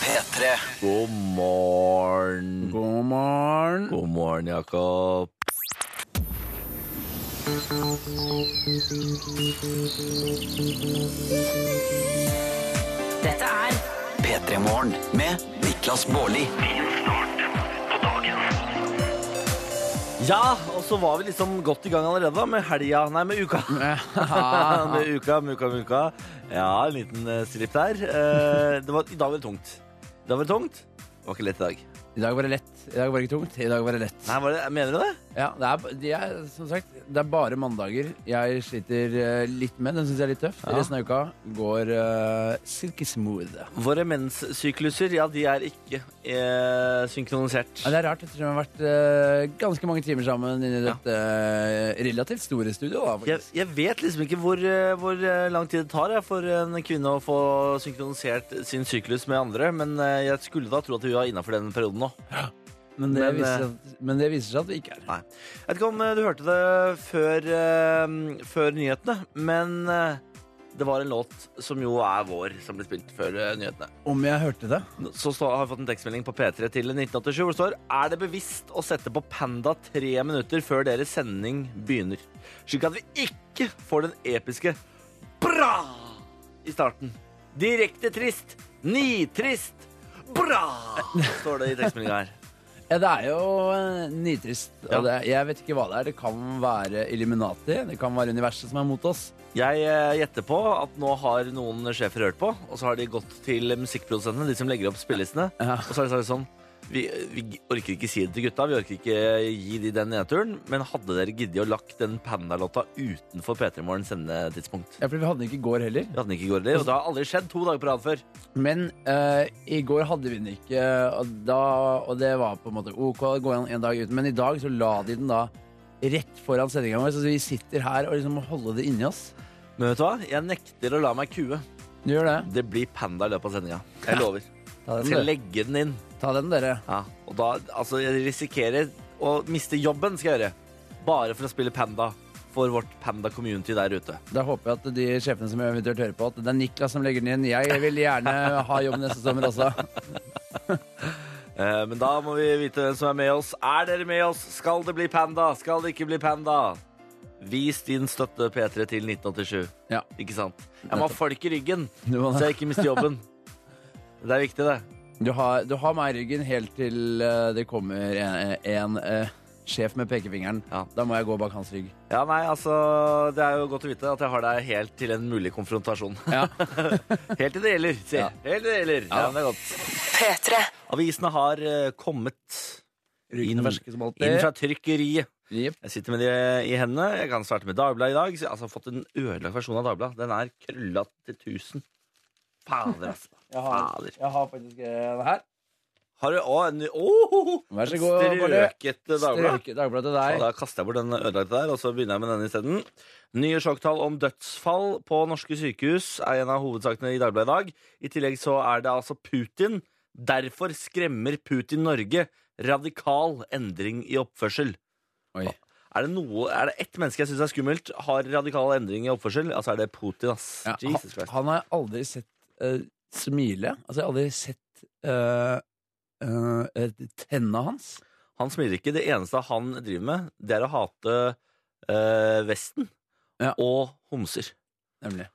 P3. God morgen. God morgen. God morgen, Jakob. Dette er P3 Morgen med Niklas Baarli. Ja, og så var vi liksom godt i gang allerede da, med helga. Nei, med uka. med uka, med uka, med uka. Ja, en liten eh, slipp der. Eh, det var, I dag var det tungt. I dag var det tungt. Det var ikke lett i dag. I dag var det lett. I dag var det ikke tungt. I dag var det lett. Nei, var det, Mener du det? Ja, det er, de er, som sagt, det er bare mandager jeg sliter eh, litt med. Den syns jeg er litt tøff. Resten av uka går uh, silky smooth. Ja, Våre menssykluser, ja, de er ikke eh, synkronisert. det er rart, ettersom vi har vært eh, ganske mange timer sammen inni dette eh, relativt store studioet. Da, Jeg, faktisk. jeg vet liksom ikke hvor, eh, hvor eh, lang tid det tar jeg, for en kvinne å få synkronisert sin syklus med andre, men eh, jeg skulle da tro at hun var innafor den perioden nå. Men, eh, det men, viser seg at, men det viser seg at vi ikke er. Nei. Jeg vet ikke om eh, du hørte det før, eh, før nyhetene, men eh, det var en låt som jo er vår, som ble spilt før eh, nyhetene. Om jeg hørte det? Så står- har jeg fått en tekstmelding på P3 til 1987 hvor det står Er det bevisst å sette på Panda tre minutter før deres sending begynner, slik at vi ikke får den episke bra i starten. Direkte trist. Nitrist. Bra! Står det i tekstmeldinga her. Ja, det er jo eh, nitrist. Og Ja. det, jeg vet ikke hva det er. Det kan være Illuminati. Det kan være universet som er mot oss. Jeg eh, gjetter på at nå har noen sjefer hørt på, og så har de gått til musikkprodusentene, de som legger opp spillelistene, Ja. og så har de sagt sånn vi, vi orker ikke si det til gutta, vi orker ikke gi de den nedturen, men hadde dere giddet å lagt den Panda-låta utenfor P3 Morgen sendetidspunkt? Ja, for vi hadde den ikke i går heller. Vi hadde den ikke i går heller, og det har aldri skjedd to dager på rad før. Men eh, i går hadde vi den ikke, og, da, og det var på en måte OK å gå en, en dag uten. Men i dag så la de den da rett foran sendinga vår, så vi sitter her og liksom må holde det inni oss. Men vet du hva? Jeg nekter å la meg kue. Du gjør det. Det blir Panda i løpet av sendinga. Jeg lover. Jeg Ta den, skal dere. legge den inn. Ta den, dere. Ja, og da, altså, jeg risikerer å miste jobben, skal jeg gjøre. Bare for å spille Panda for vårt Panda-community der ute. Da håper jeg at de sjefene som eventuelt hører på, at det er Niklas som legger den inn. Jeg vil gjerne ha jobb neste sommer også. Eh, men da må vi vite hvem som er med oss. Er dere med oss? Skal det bli Panda? Skal det ikke bli Panda? Vis din støtte, P3, til 1987. Ja. Ikke sant? Jeg må ha folk i ryggen, Du må det. så jeg ikke mister jobben. Det er viktig, det. Du har, du har meg i ryggen helt til eh, det kommer en, en eh, sjef med pekefingeren. Ja. Da må jeg gå bak hans rygg. Ja, nei, altså, Det er jo godt å vite at jeg har deg helt til en mulig konfrontasjon. Ja. Helt til det gjelder, si. Ja. Helt til det gjelder. Ja, Ja. men det er godt. Avisene har eh, kommet Ryggen inn, er ferske som alltid. inn fra trykkeriet. Jepp. Jeg sitter med de i hendene. Jeg kan starte med Dagbladet i dag. Så jeg altså, har fått en ødelagt versjon av Dagbladet. Den er krølla til tusen. Fader, altså. Jeg, har, Fader. jeg har faktisk en her. Har du Å, en ny Åh! Vær så god, Bolle. Strøkete Dagblad. Strøket Dagbladet Og til deg. da kaster jeg bort den ødelagte der, og så begynner jeg med denne isteden. Nye sjokktall om dødsfall på norske sykehus er en av hovedsakene i Dagbladet i dag. I tillegg så er det altså Putin. Derfor skremmer Putin Norge. Radikal endring i oppførsel. Oi. Er det, noe, er det ett menneske jeg syns er skummelt, har radikal endring i oppførsel, altså er det Putin, ass. Ja, Jesus han, Christ. han har jeg aldri sett eh, smile. Altså, jeg har aldri sett uh, tenna hans. Han smiler ikke. Det eneste han driver med, det er å hate eh, Vesten Ja. og homser. Nemlig.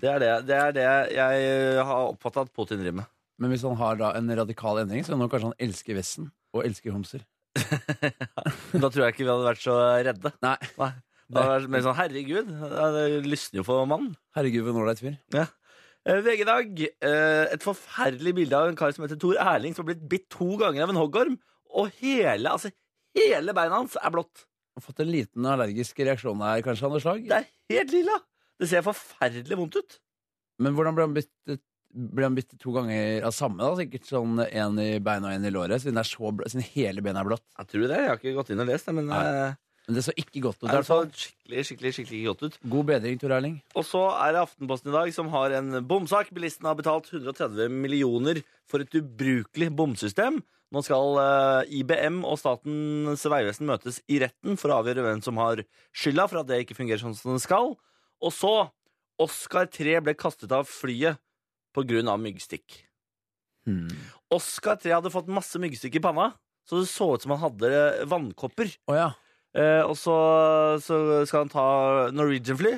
Det er det, det er det jeg har oppfatta at Putin driver med. Men hvis han har da en radikal endring, så kan han kanskje han elsker Vesten og elsker homser. Da tror jeg ikke vi hadde vært så redde. Nei. Da hadde det vært mer sånn, Herregud, det lysner jo for mannen. Herregud, hvor når det er et fyr. Eh, VG i dag. eh, Et forferdelig bilde av en kar som heter Tor Erling, som har blitt bitt to ganger av en hoggorm. Og hele, altså, hele beina hans er blått. har fått en liten allergisk reaksjon her, kanskje, av noe slag. Det er helt lilla. Det ser forferdelig vondt ut. Men hvordan ble han byttet? Ble han byttet to ganger av samme? da, Sikkert sånn en i beina og en i låret, siden, det er så bl siden hele benet er blått. Jeg tror det. Jeg har ikke gått inn og lest det, men Nei. eh, Men det så ikke godt ut. det sånn? er i hvert fall i hvert fall. skikkelig, skikkelig, skikkelig godt ut. God bedring, Tor Erling. Og så er det Aftenposten i dag som har en bomsak. Bilisten har betalt 130 millioner for et ubrukelig bomsystem. Nå skal eh, IBM og Statens vegvesen møtes i retten for å avgjøre hvem som har skylda for at det ikke fungerer sånn som det skal. Og så Oscar 3 ble kastet av flyet på grunn av myggstikk. Hmm. Oscar 3 hadde fått masse myggstykker i panna, så det så ut som han hadde eh, vannkopper. Å ja. Eh, og så, så skal han ta Norwegian-fly,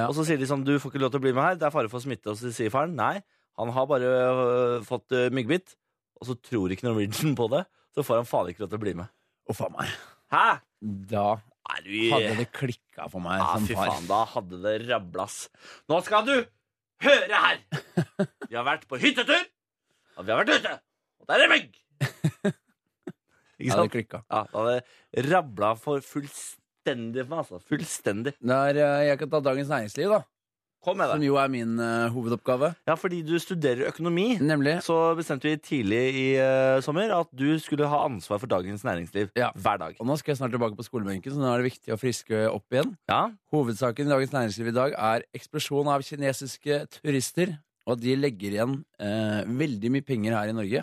Ja. og så sier de sånn Du får ikke lov til å bli med her, det er fare for smitte. Og så sier faren nei, han har bare øh, fått øh, myggbit. Og så tror ikke Norwegian på det, så får han fader ikke lov til å bli med. Å, faen meg. Hæ? Da Er du hadde det klikka for meg. Ja, som fy far. faen, da hadde det rablas. Nå skal du høre her! Vi har vært på hyttetur, og vi har vært ute, og der er det mygg! Ikke Ja, det sant? klikka. Ja, da hadde det rabla for fullstendig for meg, altså. Fullstendig. Der, eh, jeg kan ta Dagens Næringsliv, da. Kom med det. Som jo er min eh, hovedoppgave. Ja, fordi du studerer økonomi. Nemlig Så bestemte vi tidlig i eh, sommer at du skulle ha ansvar for dagens næringsliv Ja. hver dag. Og nå skal jeg snart tilbake på skolebenken, så nå er det viktig å friske opp igjen. Ja. Hovedsaken i Dagens Næringsliv i dag er eksplosjon av kinesiske turister, og at de legger igjen eh, veldig mye penger her i Norge.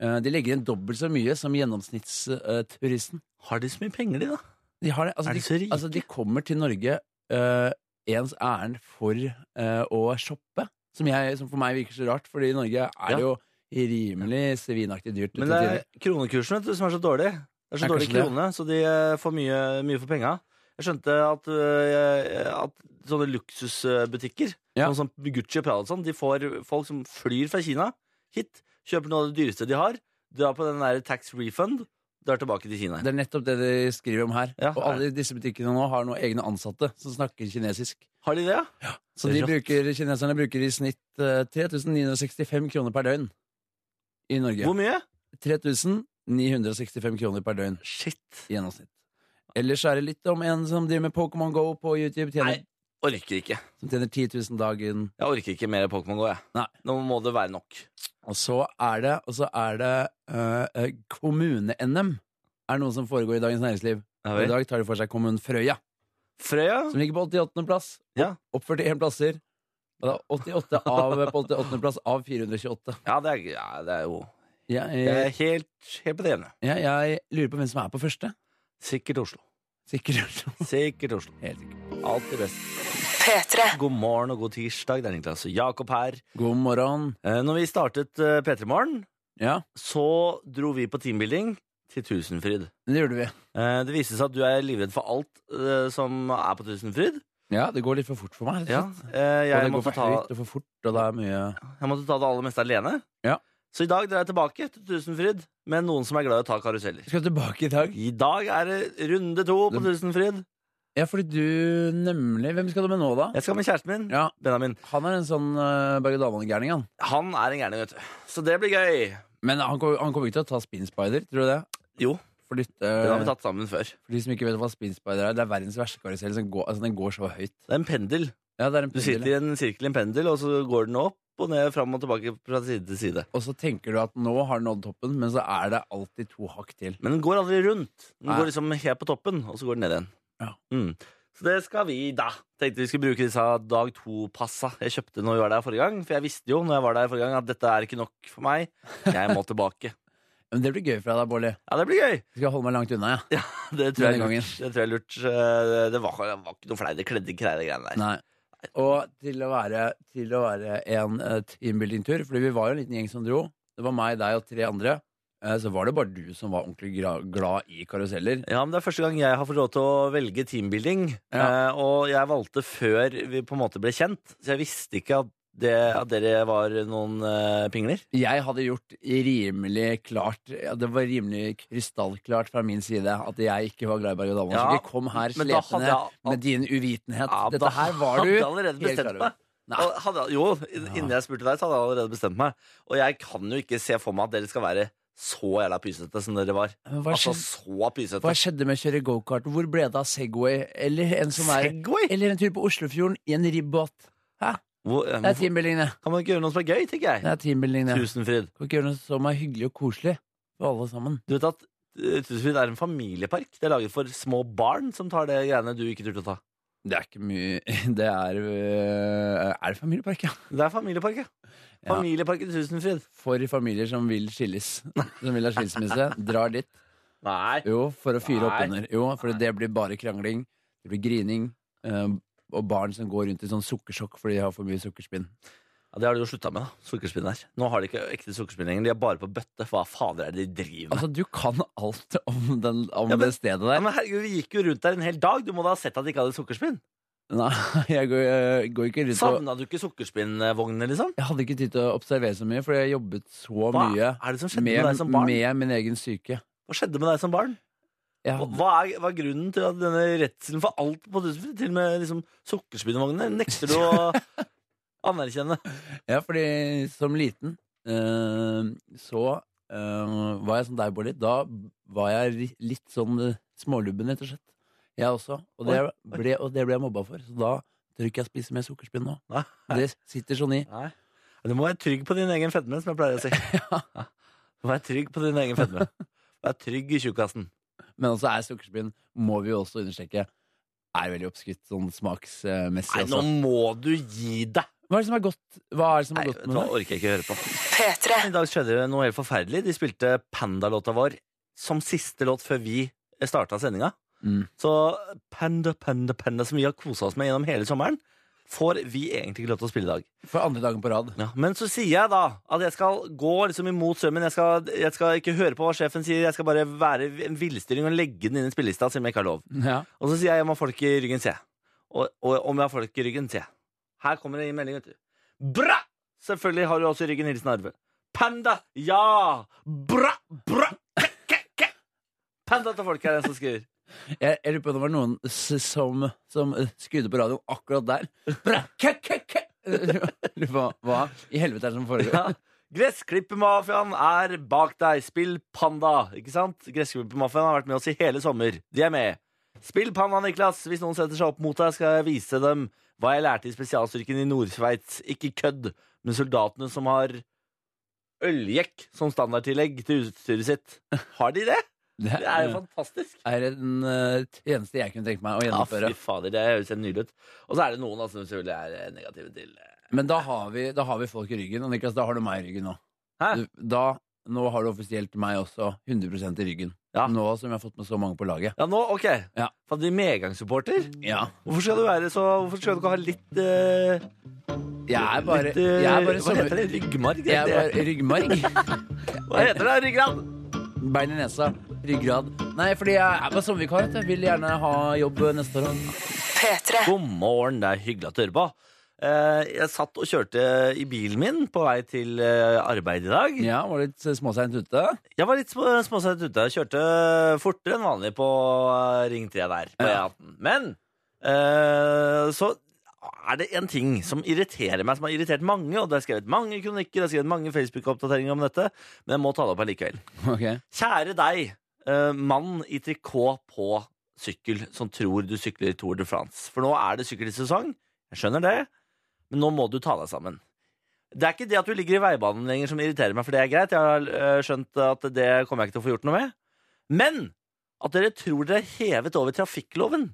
Eh, de legger igjen dobbelt så mye som gjennomsnittsturisten. Har de så mye penger, de, da? de har det. Altså, Er de de, så rike? altså, de kommer til Norge eh, ens ærend for eh, å shoppe, som, jeg, som for meg virker så rart, fordi i Norge er Ja. det jo rimelig svinaktig dyrt. Men til det tider. er kronekursen vet du, som er så dårlig. Det er så Ja, dårlig kanskje det. krone, så de eh, får mye, mye for penga. Jeg skjønte at, eh, at sånne luksusbutikker, Ja. sånn som Gucci og Prada og sånn, de får folk som flyr fra Kina hit, kjøper noe av det dyreste de har, drar på den der tax refund, drar tilbake til Kina. Det er nettopp det de skriver om her. Ja, og alle disse butikkene nå har nå egne ansatte som snakker kinesisk. Har de det, ja? Så de Rått. bruker, kineserne bruker i snitt eh, 3965 kroner per døgn i Norge. Hvor mye? 3965 kroner per døgn Shit. i gjennomsnitt. Ellers er det litt om en som driver med Pokémon Go på YouTube, tjener, Nei. Orker ikke. som tjener 10 000 dagen. Jeg orker ikke mer Pokémon GO, jeg. Nei. Nå må det være nok. Og så er det, og så er det eh, eh, kommune-NM. Er noe som foregår i Dagens Næringsliv. Og I dag tar de for seg kommunen Frøya, Frøya? som ligger på 88. plass. Ja. Opp 41 plasser. Og det er 88 av, på 88. plass av 428. Ja, det er, ja, det er jo Ja, Jeg er jeg, helt, helt på det jevne. ja, jeg lurer på hvem som er på første. Sikkert Oslo. Sikkert. Sikkert Oslo. Helt sikkert. Alltid best. God morgen og god tirsdag. Det er Niklas og Jakob her. God morgen. Eh, Når vi startet eh, P3 Morgen, Ja, så dro vi på teambuilding til Tusenfryd. det gjorde vi. Eh, Det viste seg at du er livredd for alt eh, som er på Tusenfryd. Ja, det går litt for fort for meg. rett og Ja, slett. eh, Og jeg, det går måtte for ta, høyt og for fort, og det er mye jeg måtte ta det aller meste alene. Ja. Så i dag drar jeg tilbake til Tusenfryd med noen som er glad i å ta karuseller. Vi skal tilbake i dag. I dag er det runde to på Det- Tusenfryd. Ja, fordi du nemlig Hvem skal du med nå, da? Jeg skal med kjæresten min, Ja, Benjamin. Han er en sånn uh, berg-og-dal-bane-gærning, han. Han er en gærning, vet du. Så det blir gøy. Men han kommer han kommer ikke til å ta spinspider, tror du det? Jo, For, lytt- det har vi eh, tatt sammen før. for de som ikke vet hva spinspider er, det er verdens verste karusell. Som går, altså, den går så høyt. Det er en pendel. Ja, det er en Du sitter pendel. i en sirkel i en pendel, og så går den opp og ned, fram og tilbake fra side til side. Og så tenker du at nå har den nådd toppen, men så er det alltid to hakk til. Men den går aldri rundt. Den Nei. går liksom helt på toppen, og så går den ned igjen. Ja. Mm. Så det skal vi, da. Tenkte vi skulle bruke disse dag to-passa jeg kjøpte når vi var der forrige gang. For jeg visste jo når jeg var der forrige gang at dette er ikke nok for meg. Jeg må tilbake. Men det blir gøy for deg da, Bårdli. Ja, det blir gøy! Skal jeg holde meg langt unna, jeg. Det tror jeg Denne er lurt. Det, tror jeg er lurt. Eh, det, var, det var ikke noe fleip. Det kledde ikke deg, det greiene der. Nei. Og til å være, til å være en eh, teambuilding-tur, fordi vi var jo en liten gjeng som dro. Det var meg, deg og tre andre. Eh, Så var det bare du som var ordentlig gra- glad i karuseller. Ja, men Det er første gang jeg har fått lov til å velge teambuilding. Ja. Eh, og jeg valgte før vi på en måte ble kjent, så jeg visste ikke at, det, at dere var noen eh, pingler. Jeg hadde gjort rimelig klart ja, Det var rimelig krystallklart fra min side at jeg ikke var glad i berg-og-dal-banen. Ja, så ikke kom her men da slepende hadde jeg- med din uvitenhet. Ja, da Dette her var du hadde jeg allerede helt klar bestemt over. meg. Nei. Og Hadde, jo, innen jeg spurte deg, så hadde jeg allerede bestemt meg. Og jeg kan jo ikke se for meg at dere skal være så jævla pysete som dere var. Men Hva, altså skjedde, så hva pysete. skjedde med å kjøre gokart? Hvor ble det av Segway? Eller en, som er, Segway? eller en tur på Oslofjorden i en ribbåt? Hæ? Hvor, eh, Det er hvorfor- teambuilding, det. kan man ikke gjøre noe som er gøy, tenker jeg. Det er teambuilding, det. Tusenfryd. Kan ikke gjøre noe som er hyggelig og koselig for alle sammen. Du vet at eh, Tusenfryd er en familiepark. Det er laget for små barn som tar det greiene du ikke turte å ta. Det er ikke mye Det er øh, Er det familiepark, ja? Det er familiepark, ja. Ja. Familiepark i Tusenfryd. For familier som vil skilles. Som vil ha skilsmisse. Drar dit. Nei. Jo, for å fyre Nei. opp under. Jo, for det blir bare krangling. Det blir grining. eh, og barn som går rundt i sånn sukkersjokk fordi de har for mye sukkerspinn. Ja, Det har de jo slutta med, da. Sukkerspinn her. Nå har de ikke ekte sukkerspinn lenger. De er bare på bøtte. Hva fader er det de driver med? Altså, du kan alt om, den, om Ja, men- det stedet Ja, der. men herregud, Vi gikk jo rundt der en hel dag. Du må da ha sett at de ikke hadde sukkerspinn. Nei, jeg går, jeg går ikke rundt og Savna du ikke sukkerspinnvognene, liksom? Jeg hadde ikke tid til å observere så mye, fordi jeg jobbet så Hva mye er det som skjedde med, med, deg som barn? med min egen syke. Hva skjedde med deg som barn? Jeg Hva hadde, hva er, hva er grunnen til at denne redselen for alt på tusen Til og med liksom, sukkerspinnvognene nekter du å anerkjenne. ja, fordi som liten eh, så eh, var jeg som deg, Bård. litt. Da var jeg ri- litt sånn eh, smålubben, rett og slett. Jeg også. Og det ble, og det ble jeg mobba for. Så da tør ikke jeg spise mer sukkerspinn nå. Nei. Det sitter sånn i. Nei. Du må være trygg på din egen fedme, som jeg pleier å si. Ja. Du må være trygg på din egen fedme. Vær trygg i tjukkasen. Men også er sukkerspinn, må vi jo også understreke, er veldig oppskrytt sånn smaksmessig. Nei, nå også. må du gi deg! Hva er det som er godt? Hva er det som Nei, er vet godt du med hva, det? orker jeg ikke høre på. I dag skjedde det noe helt forferdelig. De spilte Panda-låta vår som siste låt før vi starta sendinga. Mm. Så Panda, Panda, Panda, som vi har kosa oss med gjennom hele sommeren, får vi egentlig ikke lov til å spille i dag. For andre dagen på rad. Ja, men så sier jeg da at jeg skal gå liksom imot strømmen. Jeg skal, jeg skal ikke høre på hva sjefen sier. Jeg skal bare være en villstyring og legge den inn i spillelista, selv om jeg ikke har lov. Ja. Og så sier jeg jeg må ha folk i ryggen, se. Og, og om jeg har folk i ryggen, se. Her kommer det en melding, vet du. Bra! Selvfølgelig har du også i ryggen hilsen Arve. Panda! Ja! Bra! Bra! Ke, ke, ke. Panda til folk er det som skriver. Jeg, jeg lurer på om det var noen s- som, som eh, skrudde på radioen akkurat der. Bra, ke, ke, ke. Lurer på hva i helvete er det som foregår. Ja. Gressklippermafiaen er bak deg. Spill panda, ikke sant? Gressklippermafiaen har vært med oss i hele sommer. De er med. Spill panda, Niklas. Hvis noen setter seg opp mot deg, skal jeg vise dem hva jeg lærte i spesialstyrken i Nord-Sveits. Ikke kødd med soldatene som har øljekk som standardtillegg til utstyret sitt. Har de det? Det Det er er, jo fantastisk. er en eh, tjeneste jeg kunne tenkt meg å Ja, gjennomføre. fy fader, det høres helt nydelig ut. Og så er det noen altså, som selvfølgelig er eh, negative til eh, Men da har, vi, da har vi folk i ryggen. Og Niklas, da har du meg i ryggen nå. Hæ? Du, da, nå har du offisielt meg også 100 i ryggen. Ja. Nå som jeg har fått med så mange på laget. Ja, nå, ok. Ja. Fader, de medgangssupporter. Ja. Hvorfor skal du være så Hvorfor skal du ikke ha litt eh, Jeg er bare, litt, eh, jeg er bare, Hva heter sommer, det? Ryggmarg? jeg er bare ryggmarg. Hva heter det? Ryggrad? Bein i nesa, ryggrad. Nei, fordi jeg er bare sommervikar. vet du. Jeg vil gjerne ha jobb neste år. God morgen, det er hyggelig at du hører på. Eh, jeg satt og kjørte i bilen min på vei til eh, arbeid i dag. Ja, var litt småseint ute. Jeg var litt små- småsett ute. Jeg kjørte fortere enn vanlig på eh, Ring 3 der. På Ja. E18. Men eh, så er det en ting som irriterer meg, som har irritert mange, og det er skrevet mange kronikker, det er skrevet mange Facebook-oppdateringer om dette, men jeg må ta det opp allikevel. Ok. Kjære deg, eh, mann i trikot på sykkel som tror du sykler Tour de France. For nå er det sykkelsesong, jeg skjønner det, men nå må du ta deg sammen. Det er ikke det at du ligger i veibanen lenger som irriterer meg, for det er greit. Jeg har eh, skjønt at det kommer jeg ikke til å få gjort noe med. Men at dere tror dere er hevet over trafikkloven,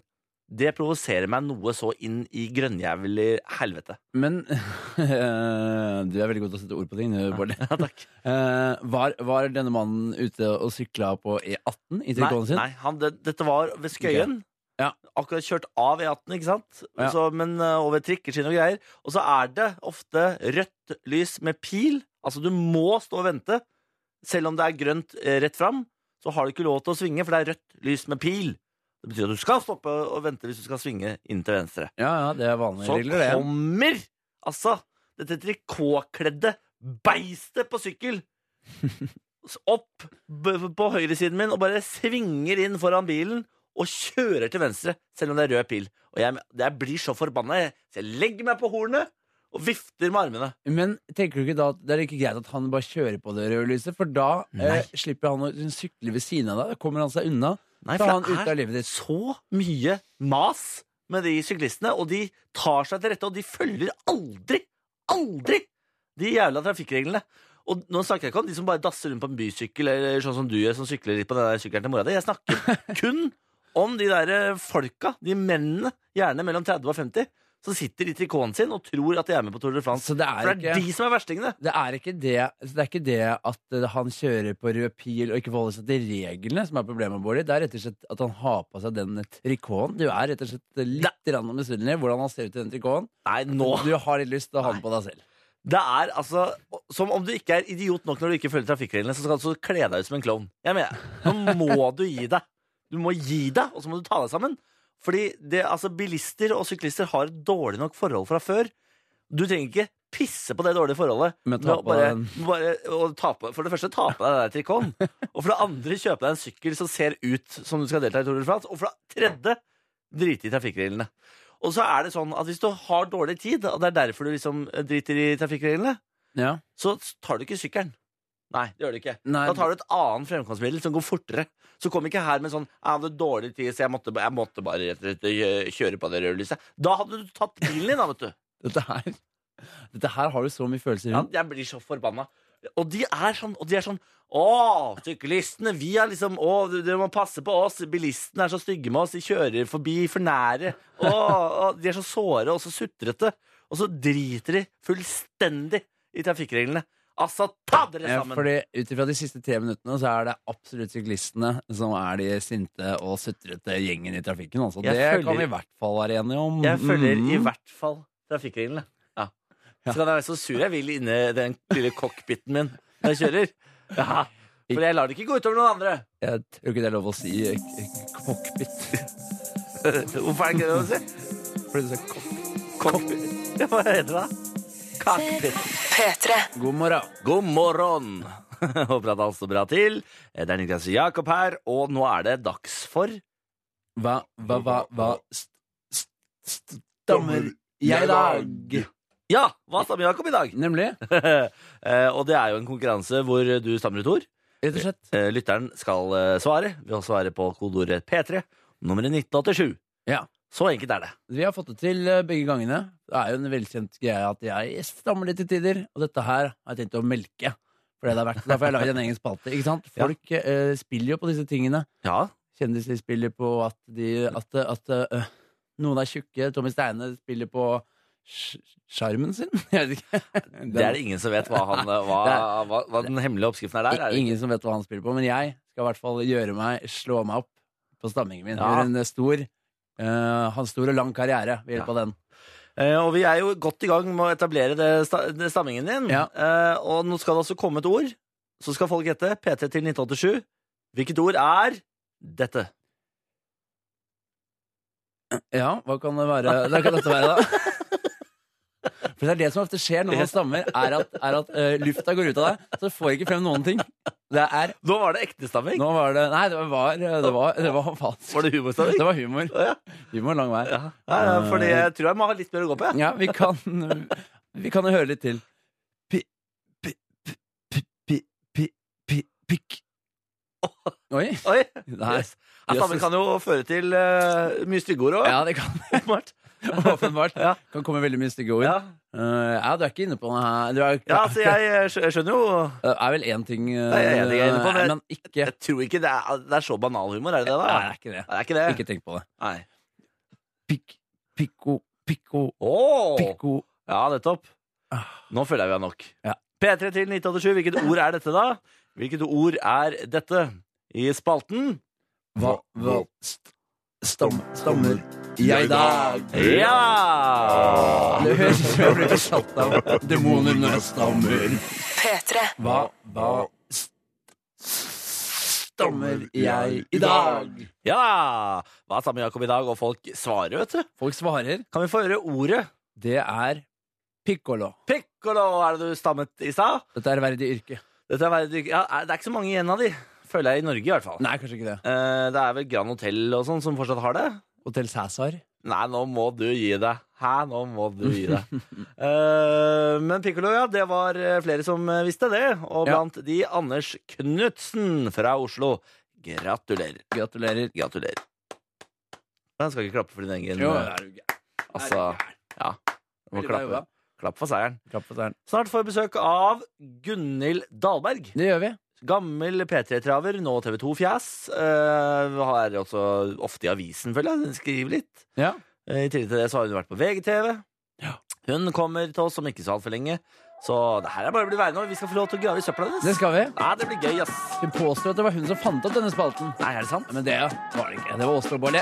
det provoserer meg noe så inn i grønnjævlig helvete. Men eh, du er veldig god til å sette ord på ting, du, Bård. Ja, takk. Eh, var, var denne mannen ute og sykla på E18 i trikoten sin? Nei, han, det, dette var ved Skøyen. Ja. Akkurat kjørt av E18, ikke sant? Ja. Så, men eh, over trikkeskinn og greier. Og så er det ofte rødt lys med pil. Altså, du må stå og vente. Selv om det er grønt eh, rett fram, så har du ikke lov til å svinge, for det er rødt lys med pil. Det betyr at du skal stoppe og vente hvis du skal svinge inn til venstre. Ja, ja, det er vanlige Så regler, det. kommer altså dette trikotkledde beistet på sykkel s- opp b- på høyresiden min og bare svinger inn foran bilen og kjører til venstre, selv om det er rød pil. Og jeg, jeg blir så forbanna, jeg. så jeg legger meg på hornet og vifter med armene. Men tenker du ikke da at det er ikke greit at han bare kjører på det røde lyset? For da eh, Nei. slipper han å sykle ved siden av deg. Da kommer han seg unna. Nei, Da for er han ute av det er livet ditt. så mye mas med de syklistene, og de tar seg til rette, og de følger aldri, aldri de jævla trafikkreglene. Og nå snakker jeg ikke om de som bare dasser rundt på en bysykkel, eller sånn som du gjør, som sykler litt på den der sykkelen til mora di. Jeg snakker kun om de der eh, folka, de mennene, gjerne mellom 30 og 50, som sitter i trikoten sin og tror at de er med på Tour de France. Så det For er det ikke er de som er verstingene. det er ikke det, så det er ikke det at eh, han kjører på rød pil og ikke forholder seg til reglene som er problemet, Bård. Det er rett og slett at han har på seg den trikoten. Du er rett og slett litt grann misunnelig hvordan han ser ut i den trikoten. Nei, nå Du har litt lyst til å ha den på deg selv. Det er altså Som om du ikke er idiot nok når du ikke følger trafikkreglene, så skal du altså kle deg ut som en klovn. Jeg mener, nå må du gi deg. Du må gi deg, og så må du ta deg sammen. Fordi det, altså, bilister og syklister har et dårlig nok forhold fra før. Du trenger ikke pisse på det dårlige forholdet. Men ta Du må på bare, den. bare, og ta på, For det første, ta på deg det der trikoten. Og for det andre, kjøpe deg en sykkel som ser ut som du skal delta i Tour de France. Og for det tredje, drite i trafikkreglene. Og så er det sånn at hvis du har dårlig tid, og det er derfor du liksom driter i trafikkreglene, Ja. så tar du ikke sykkelen. Nei, det gjør du ikke. Nei. Da tar du et annet fremkomstmiddel som går fortere. Så kom ikke her med sånn 'Jeg hadde dårlig tid, så jeg måtte, jeg måtte bare rett og slett øh, kjøre på det røde lyset'. Da hadde du tatt bilen din, da, vet du. Dette her Dette her har du så mye følelser Ja, rundt. jeg blir så forbanna. Og de er sånn, og de er sånn Å, syklistene, vi er liksom Å, du- dere må passe på oss. Bilistene er så stygge med oss. De kjører forbi for nære. Å, å, de er så såre og så sutrete. Og så driter de fullstendig i trafikkreglene. Altså, ta dere Ja, sammen! fordi Ut ifra de siste tre minuttene så er det absolutt syklistene som er de sinte og sutrete gjengen i trafikken. Altså. Det Jeg kan følger- vi i hvert fall være enige om. Jeg følger i Mm. hvert fall trafikkreglene. Ja. Så kan jeg være så sur jeg vil inni den lille cockpiten min når jeg kjører. Ja, for jeg lar det ikke gå utover noen andre. Jeg tror ikke det er lov å si eh, k- cockpit. Hvorfor er det ikke det å si? Fordi du sa cock- Cockpit. Ja, hva heter det? Cockpit. God morgen. God morgen! Håper at alt står bra til. Eh, Det er Niklas Jakob her, og nå er det dags for Hva, hva, hva, hva st st st stammer jeg i dag? Ja! Hva stammer Jakob i dag? Nemlig. Eh, og det er jo en konkurranse hvor du stammer ut ord. Rett og slett. Eh, Lytteren skal eh, svare ved å svare på kodeordet P3, nummeret 1987. Ja. Så enkelt er det. Vi har fått det til eh, begge gangene. Det er jo en velkjent greie at jeg stammer litt til tider, og dette her har jeg tenkt å melke. For det det er verdt. Derfor har jeg laget en egen spalte. ikke sant? Ja. Folk eh, spiller jo på disse tingene. Ja. Kjendiser spiller på at, de, at, at eh, noen er tjukke. Tommy Steine spiller på sj- sjarmen sin. Jeg vet ikke. Det er det ingen som vet hva, han, eh, hva, Det hva, hva den hemmelige oppskriften er der. Er det? ingen som vet hva han spiller på, men jeg skal i hvert fall gjøre meg, slå meg opp på stammingen min. Ja. Gjøre En eh, stor, eh, ha en stor og lang karriere ved hjelp av den. Eh, og vi er jo godt i gang med å etablere det, sta- det stammingen din. Ja. Eh, og nå skal det altså komme et ord. Så skal folk gjette. P3 til 1987. Hvilket ord er dette? Ja, hva kan det være? Hva kan dette være, da? For det er det som ofte skjer når man stammer, er at, er at eh, lufta går ut av deg, så du får ikke frem noen ting. Det er Nå var det ekte stamming. Nå var det Nei, det var, det var, det var falsk. Var det humorstamming? Det var Eh, humor. Å, ja. Humor lang vei. Ja. Ja, ja, fordi jeg tror jeg må ha litt mer å gå på. jeg. Ja, vi kan Vi kan jo høre litt til. Pi... Pi... Pi... Pi... Pi... pi pikk. Oi. Oi! Nei. Yes. Ja, stamming kan jo føre til eh, mye stygge ord òg. Ja, det kan åpenbart. Åpenbart. Ja. Kan komme veldig mye stygge ord. Ja. Eh, ja, du er ikke inne på noe her. Du er, Ja, altså, jeg, eh, skjø- jeg skjønner jo Det er vel én ting eh, Nei, jeg er enig, jeg er enig på det. Men ikke Jeg tror ikke det er, det er så banal humor, er det det? Nei, da? det er ikke det. Nei, det er ikke det. Ikke tenk på det. Nei. Pikk, pikko, pikko, Åh! pikko. Ja, nettopp. Ah. Nå føler jeg vi har nok. Ja. P3 til 1987. Hvilket ord er dette, da? Hvilket ord er dette i spalten? Hva, hva st stam, stammer jeg i dag? Ja! Det høres ut som jeg blir besatt av demoner når jeg stammer. Hva, hva st stammer jeg i dag? Ja! Hva sa med Jakob i dag? Og folk svarer, vet du. Folk svarer Kan vi få høre ordet? det er pikkolo. Piccolo er det du stammet i stad. Dette er verdig yrke. Dette er veldig- ja, Det er ikke så mange igjen av de, føler jeg, i Norge i hvert fall. Nei, kanskje ikke det. Eh, Det er vel Grand Hotel og sånn som fortsatt har det? Hotell Cæsar. Nei, nå må du gi deg. Hæ, nå må du gi deg. Eh, men Piccolo, ja, det var eh, flere som eh, visste det. Og Ja. blant de Anders Knutsen fra Oslo. Gratulerer. Gratulerer. Gratulerer. Jeg skal ikke klappe for din egen Jo, eh, er du gæren. Altså, ja. Du må Veldig bra klappe. jobba. Klapp for seieren. Klapp på tærne. Snart får vi besøk av Gunhild Dahlberg. Det gjør vi. Gammel P3-traver, nå TV 2-fjas. Uh, har også ofte i avisen, føler jeg. Skriver litt. Ja. Eh, I tillegg til det så har hun vært på VGTV. Ja. Hun kommer til oss om ikke så altfor lenge. Så det her er bare å bli værende. og Vi skal få lov til å grave i søpla hennes. Det skal vi. Nei, det blir gøy, ass. Hun påstår at det var hun som fant opp denne spalten. Nei, er det sant? Men det var det ikke. Det var Åslo Bolle.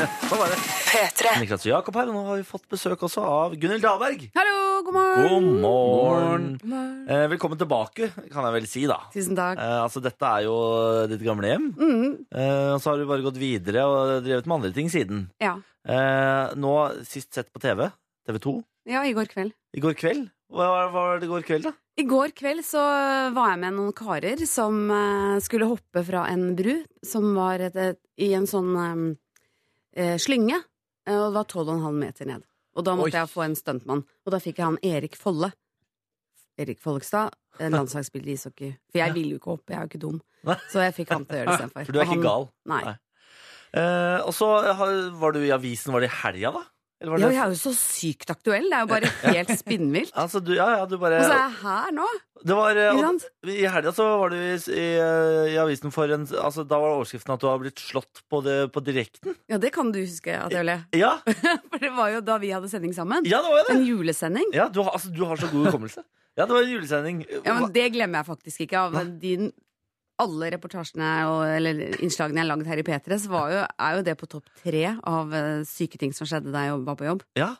Sånn var det. P3. Niklas og Jakob her, og nå har vi fått besøk også av Gunhild Dahlberg. Hallo, god morgen. God morgen. God morgen. Eh, velkommen tilbake, kan jeg vel si, da. Tusen takk. Eh, altså, dette er jo ditt gamle hjem. Mm, Eh, og så har du bare gått videre og drevet med andre ting siden. ja. Eh, nå sist sett på TV, TV 2, ja, i går kveld. i går kveld. Hva hva var det i går kveld, da? I går kveld så var jeg med noen karer som eh, skulle hoppe fra en bru som var et, et, i en sånn eh, eh, slynge, eh, og det var 12,5 meter ned. Og da måtte Oi. jeg få en stuntmann, og da fikk jeg han Erik Folle. Erik Follekstad, en landslagsspiller i ishockey. For jeg ville jo ikke hoppe, jeg er jo ikke dum. Nei. Så jeg fikk han til å gjøre det istedenfor. For du er Og ikke han- gal. Nei. Nei. Eh, og så har- var du i avisen, var det i helga, da? Eller var Ja, det jeg er jo så sykt aktuell. Det er jo bare helt spinnvilt. Altså, du, ja, ja, du bare Og så er jeg her nå, Det var eh, ikke og- sant? I helga så var du i, i, eh, i avisen for en altså, Da var overskriften at du har blitt slått på, det, på direkten. Ja, det kan du huske, Atjøle. Ja, For det var jo da vi hadde sending sammen. ja det var jo det! En julesending. Ja, du har, altså, du har så god hukommelse. Ja, det var en julesending. Ja, men Det glemmer jeg faktisk ikke. Av din, alle reportasjene og eller, innslagene jeg har lagd her i P3, så var jo, er jo det på topp tre av eh, syke ting som skjedde da jeg var på jobb. Ja.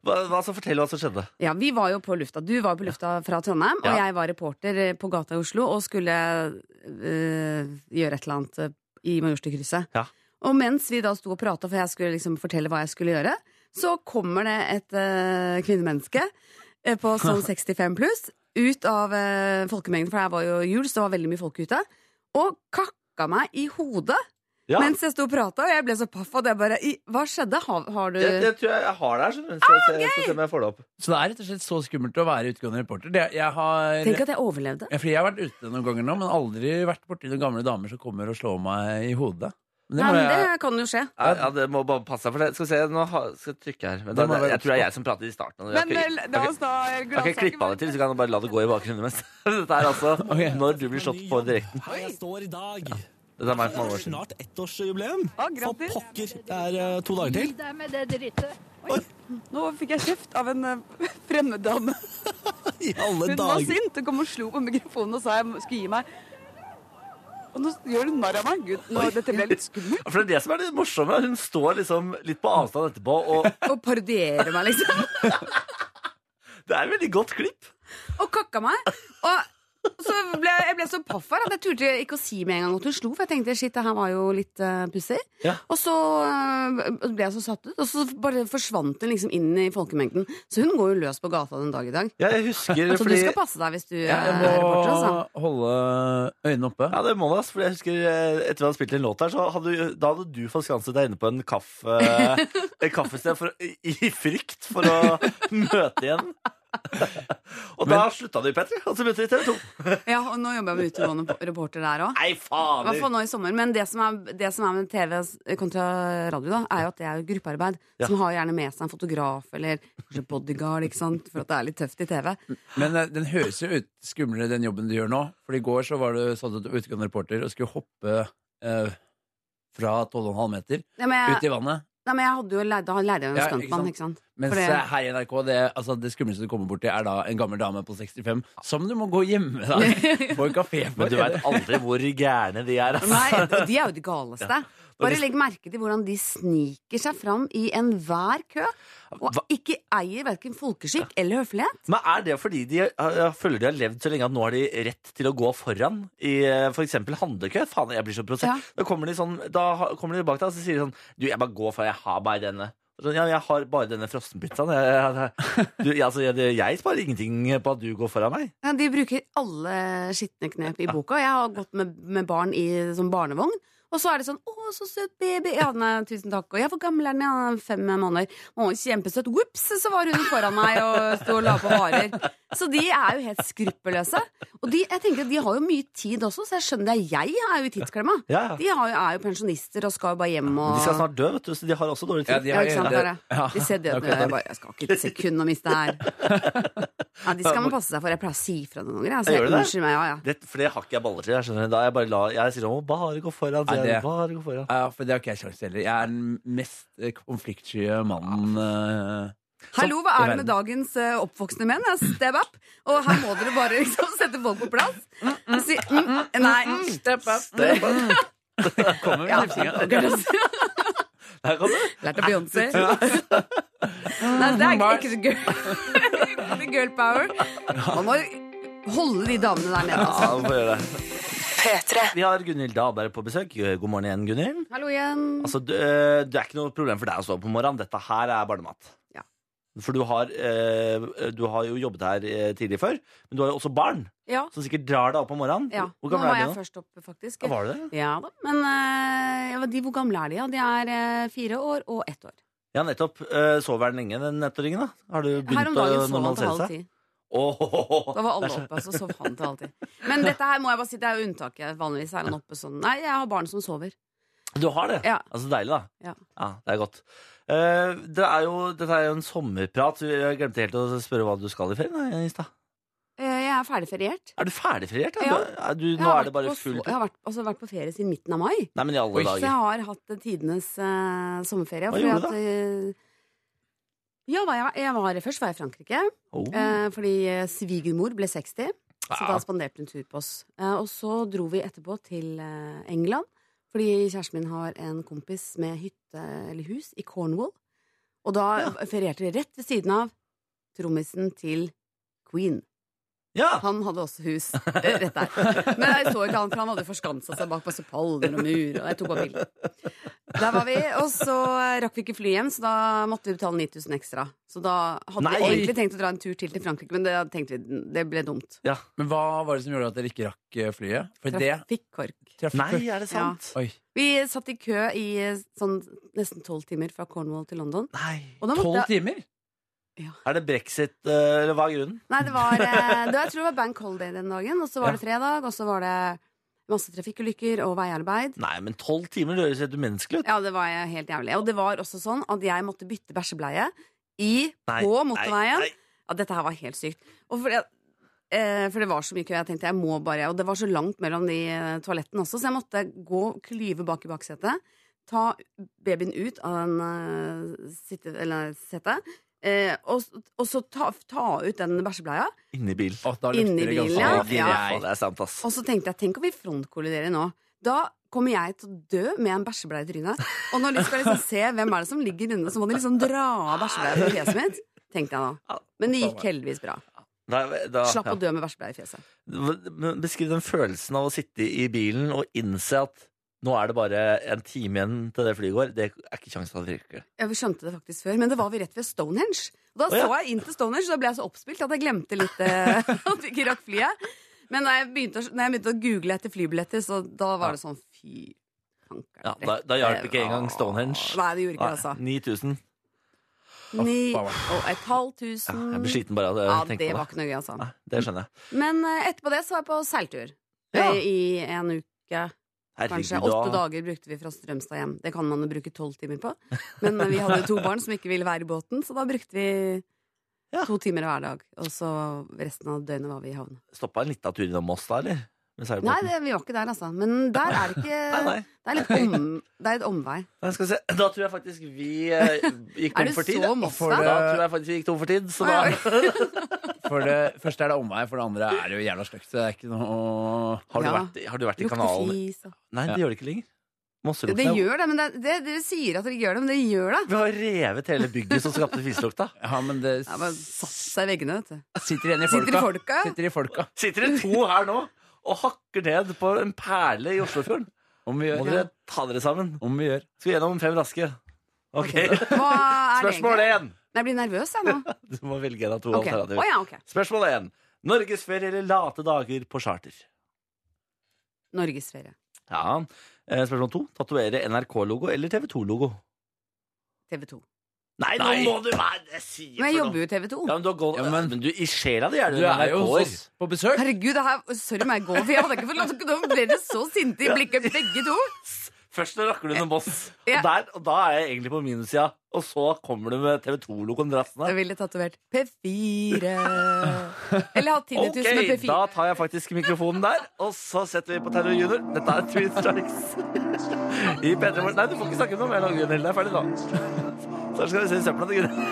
Hva, hva, altså, fortell hva som skjedde. Ja, Vi var jo på lufta. Du var jo på lufta fra Trondheim, og Ja. jeg var reporter eh, på gata i Oslo og skulle eh, gjøre et eller annet eh, i Majorstukrysset. Ja. Og mens vi da sto og prata, for jeg skulle liksom fortelle hva jeg skulle gjøre, så kommer det et eh, kvinnemenneske eh, på sånn 65 pluss ut av eh, folkemengden, for det var jo jul, så det var veldig mye folk ute, og kakka meg i hodet Ja. mens jeg sto og prata, og jeg ble så paff at jeg bare "I- Hva skjedde? Har, har du jeg, jeg tror jeg, jeg har det her. skjønner du. Skal jeg se- jeg skal se om jeg får det opp. Så det er rett og slett så skummelt å være utegående reporter. Det, jeg har... Tenk at jeg overlevde. Ja, fordi jeg har vært ute noen ganger nå, men aldri vært borti noen gamle damer som kommer og slår meg i hodet. Men det Nei, må men jeg... det kan jo skje. Ja, ja, det må bare passe deg for det. Skal vi se, nå har, skal jeg trykke her. Men Det det, må det, være jeg tror det er jeg som prater i starten. og jeg Men kan- eh, la oss da eh, Jeg kan ikke klippe av det til, så kan du bare la det gå i bakgrunnen mens. Dette er altså Ok. når du blir slått på direkten. Her jeg står i dag. Dette er meg for mange Det år er siden. snart ettårsjubileum. Å, For grattis. pokker, det er eh, to dager til. Gi deg med det drittet. Nå fikk jeg kjeft av en eh, fremmed dame. I alle Hun var dager. sint og kom og slo på mikrofonen og sa jeg må- skulle gi meg. Og nå gjør hun narr av meg. Gud, nå, dette ble litt skummelt. Ja, For det er det som er det morsomme. Hun står liksom litt på avstand etterpå, og Og parodiere meg, liksom. det er et veldig godt klipp. og kakka meg. Og så ble jeg ble så paff her at jeg turte ikke å si med en gang at hun slo, for jeg tenkte shit, det her var jo litt uh, pussig. Ja. Og så eh, ble jeg så satt ut, og så bare forsvant hun liksom inn i folkemengden. Så hun går jo løs på gata den dag i dag. Ja, jeg husker Så fordi Altså, du skal passe deg hvis du eh, Jeg er reporter, altså. må holde øynene oppe. ja, det må det, altså, fordi jeg husker eh, Etter vi hadde spilt en låt her, så hadde, du- da hadde du forskanset deg inne på en kaffe, et kaffested for, i, i frykt for å møte igjen. Og da slutta du i P3, og så begynte du i TV 2. Ja, og nå jobber jeg med utegående reporter der òg. Nei, I hvert fader! fall nå i sommer. Men det som er, det som er med TV kontra radio, da, er jo at det er jo gruppearbeid. Ja. Som har gjerne med seg en fotograf eller kanskje bodyguard, ikke sant. For at det er litt tøft i TV. Men eh, den høres jo ut skumlere den jobben du gjør nå. For i går så var du satt ut utegående reporter og skulle hoppe eh, fra 12,5 meter Ja, men jeg, ut i vannet. Nei, men jeg hadde jo leid, da leide jeg jo en Ja, ikke stuntmann, sant? ikke sant? Mens For det- eh, her i NRK, det, altså, det skumleste du kommer borti, er da en gammel dame på 65 som du må gå hjemme deg på en kafé for. Men du veit aldri hvor gærne de er. Altså. Nei, og de er jo de galeste. Bare legg merke til hvordan de sniker seg fram i enhver kø, og Hva- ikke eier verken folkeskikk eller høflighet. Men er det fordi de eh, jeg føler de har levd så lenge at nå har de rett til å gå foran i f.eks. handlekø? Faen, jeg blir så provosert. Ja. Da kommer de sånn, da ha- kommer de bak deg og så sier de sånn Du, jeg bare går foran, jeg har bare denne. Og Sånn, ja, jeg har bare denne frossenpizzaen. Jeg, jeg, jeg, du, jeg, altså, jeg, jeg sparer ingenting på at du går foran meg. Ja, de bruker alle skitne knep i boka. Jeg har gått med, med barn i sånn barnevogn, og så er det sånn 'Å, så søt baby'. Ja, nei, tusen takk. Og jeg hvor gammel er den? Ja, fem måneder. Å, kjempesøt. Ops, så var hun foran meg og sto og la på varer. Så de er jo helt skruppelløse. Og de, jeg tenker at de har jo mye tid også, så jeg skjønner det. Jeg er jo i tidsklemma. Ja, ja. De har jo, er jo pensjonister og skal jo bare hjem og De skal snart dø, vet du, så de har også dårlig Ja, tid. de ja, har ikke sant, det- bare. Ja. De ser døden ut. Jeg bare Jeg skal ikke et sekund å miste her. Ja, de skal man passe seg for. Jeg pleier å si fra noen ganger. jeg, Så Gjør jeg, du det? unnskyld meg, ja, ja. Det, for det har ikke jeg baller til. Jeg skjønner Da jeg bare la, jeg sier sånn, bare gå foran. Nei, sier jeg, det- bare gå foran. Ja, for det har ikke jeg sjans til heller. Jeg er den mest eh, konfliktsky mannen eh, Hallo, hva er det med dagens eh, oppvoksende menn? Jeg er Step up. Og her må dere bare liksom sette folk på plass. Og si mm, nei. Step up. Det, eh, kommer med. Ja, knipsingen. akkurat. Der kan du. Lært av Beyoncé. Nei, det er ikke så girl, girl power. Man må holde de damene der nede. Ja, Altså. vi får gjøre det. Vi har Gunhild Dahlberg på besøk. God morgen igjen, Gunhild. Hallo igjen. Altså, du, eh, det er ikke noe problem for deg å stå opp om morgenen. Dette her er barnemat. Ja. For du har, eh, du har jo jobbet her eh, tidlig før, men du har jo også barn Ja, som sikkert drar deg opp om morgenen. ja. Hvor Nå gammel var er jeg de nå? først oppe, faktisk. Ja, var det det? Ja da, men eh, ja, de, hvor gamle er de? Ja? De er eh, fire år og ett år. Ja, nettopp. Eh, Sover han lenge, den ettåringen? da? Har du Her begynt om å dagen sov han til normalisere halv seg? ti. Åh, ho, ho, ho. Da var alle Det er så- oppe, og så sov han til halv ti. Men dette her må jeg bare si, det er jo unntaket. Vanligvis er han oppe sånn. Nei, jeg har barn som sover. Du har det? Ja. Altså, deilig, da. Ja. det er godt. Eh, det er jo, dette er jo en sommerprat. Jeg glemte helt å spørre hva du skal i ferien. da, i stad. Eh, Jeg er ferdig feriert. Er du ferdigferiert? da? Ja. Du, er du, Jeg nå har er det vært bare på så- full Jeg har vært, altså, vært på ferie siden midten av mai. Nei, men i alle Oi, Så dager. jeg har hatt tidenes eh, sommerferie. Hva fordi gjorde du da? at, eh, ja, hva jeg, var- jeg var, først var jeg i Frankrike, Oh. eh, fordi eh, svigermor ble 60. Så Ja. da spanderte hun tur på oss. Eh, og så dro vi etterpå til eh, England, fordi kjæresten min har en kompis med hytte eller hus i Cornwall. Og da ferierte vi rett ved siden av trommisen til Queen. Ja! Han hadde også hus eh, rett der. Men jeg så ikke han, for han hadde forskansa seg bak masse palmer og mur. Og jeg tok bare bilder. Der var vi, og så eh, rakk vi ikke fly hjem, så da måtte vi betale 9000 ekstra. Så da hadde Nei. vi egentlig tenkt å dra en tur til til Frankrike, men det tenkte vi det ble dumt. ja. Men hva var det som gjorde at dere ikke rakk eh, flyet? For det Trafikkork. traff Nei, er det sant? Oi. Vi satt i kø i eh, sånn nesten tolv timer fra Cornwall til London. Nei. Og da Tolv måtte jeg, timer? Er det brexit, eh, eller hva er grunnen? nei, det var, eh, det, var- jeg tror det var bank holiday den dagen, og så Ja. var det fredag, og så var det masse trafikkulykker og veiarbeid. Nei, men tolv timer det høres helt umenneskelig ut. Ja, det var jeg helt jævlig. Og det var også sånn at jeg måtte bytte bæsjebleie i, Nei, på nei, motorveien. nei. Ja, dette her var helt sykt. Og fordi, eh, for det var så mye kø. Jeg tenkte jeg må bare Og det var så langt mellom de eh, toalettene også, så jeg måtte gå klyve bak i baksetet. Ta babyen ut av en eh, sitte, eller setet. Eh, og, og så ta, ta ut den bæsjebleia. Inni bilen. Å, da Inni lukter det bilen, ganske ja. Å, Ja. faen, Det er sant, ass. Og så tenkte jeg, tenk om vi frontkolliderer nå. Da kommer jeg til å dø med en bæsjebleie i trynet. Og når de skal liksom se hvem er det som ligger inne, så må de liksom dra av bæsjebleia fra fjeset mitt. Tenkte jeg da. Men det gikk heldigvis bra. Nei, da- Slapp ja. å dø med bæsjebleie i fjeset. Men Beskriv den følelsen av å sitte i bilen og innse at nå er det bare en time igjen til det flyet går. Det er ikke kjangs for at det virker. Jeg skjønte det faktisk før, men det var vi rett ved Stonehenge. Og da Å, ja. så jeg inn til Stonehenge, og da ble jeg så oppspilt at jeg glemte litt eh, at vi ikke rakk flyet. Men da jeg begynte, å- når jeg begynte å google etter flybilletter, så da var det sånn fy fanker. Ja, da- da hjalp ikke engang Stonehenge. Nei, det gjorde ikke det, altså. Nei, 9000. Ni faen. og et halvt tusen. Jeg blir sliten bare av det. Ja, jeg det tenker på var det. ikke noe gøy, altså. Nei, det skjønner jeg. Men eh, etterpå det så var jeg på seiltur. Ja. Eh, I en uke, kanskje. Herregud, Åtte da. dager brukte vi fra Strømstad hjem. Det kan man jo bruke tolv timer på. Men vi hadde to barn som ikke ville være i båten, så da brukte vi Ja. to timer hver dag. Og så resten av døgnet var vi i havn. Stoppa en liten tur innom Moss da, eller? Med seilbåten. Nei, det, vi var ikke der, altså. Men der er det nei, ikke nei. Det er litt om, det er et omvei. Nei, skal vi se. Da tror jeg faktisk vi eh, gikk Er tom du for tid. så ja. Moss, For eh, da? Da tror jeg faktisk vi gikk tom for tid. Så da Oi, For det første er det omvei, for det andre er det jo jævla stygt. så Det er ikke noe har, du Ja. vært, har du vært i Lukter kanalen? fis og Nei, det Ja. gjør det ikke lenger. Mosselukten Det er- gjør det, men det, det, dere sier at dere ikke gjør det, men det gjør det. Vi har revet hele bygget som skapte fiselukta. Ja, men det Jeg bare satt seg i veggene, vet du. sitter igjen i Sitter i folka. folka. Sitter i folka. Sitter det to her nå og hakker ned på en perle i Oslofjorden. Om vi Må gjør. dere ta dere sammen. Om vi gjør. Skal vi gjennom fem raske? Ok. Hva er det Spørsmål egentlig? én. Nei, Jeg blir nervøs, jeg nå. Du må velge en av to Ok. Å alternativer. ja, ok. Spørsmål én. Norgesferie eller late dager på charter? Norgesferie. Ja. Eh, Spørsmål to. Tatovere NRK-logo eller TV 2-logo? TV 2. Nei, nå må du være si Men jeg jobber jo i TV 2. Ja, men du har gått, Ja, men, men- du, i sjela di er du, Du er jo NRK-er. hos oss på besøk. Herregud, det her, sorry meg gå, for jeg hadde ikke fått lov til Nå ble dere så sinte i blikket, begge to. Først nå rakker du under Moss, Ja. og, der, og da er jeg egentlig på minussida. Og så kommer du med TV 2-logoen Jeg drassende. ville tatovert P4. Eller hatt Ok, tinnitus med P4. da tar jeg faktisk mikrofonen der, og så setter vi på Terror Junior. Dette er Twin Strikes. I P3 Morgen. Nei, du får ikke snakke noe mer nå, Gunhild. Det er ferdig nå. Så Der skal vi se søpla til Gunnar.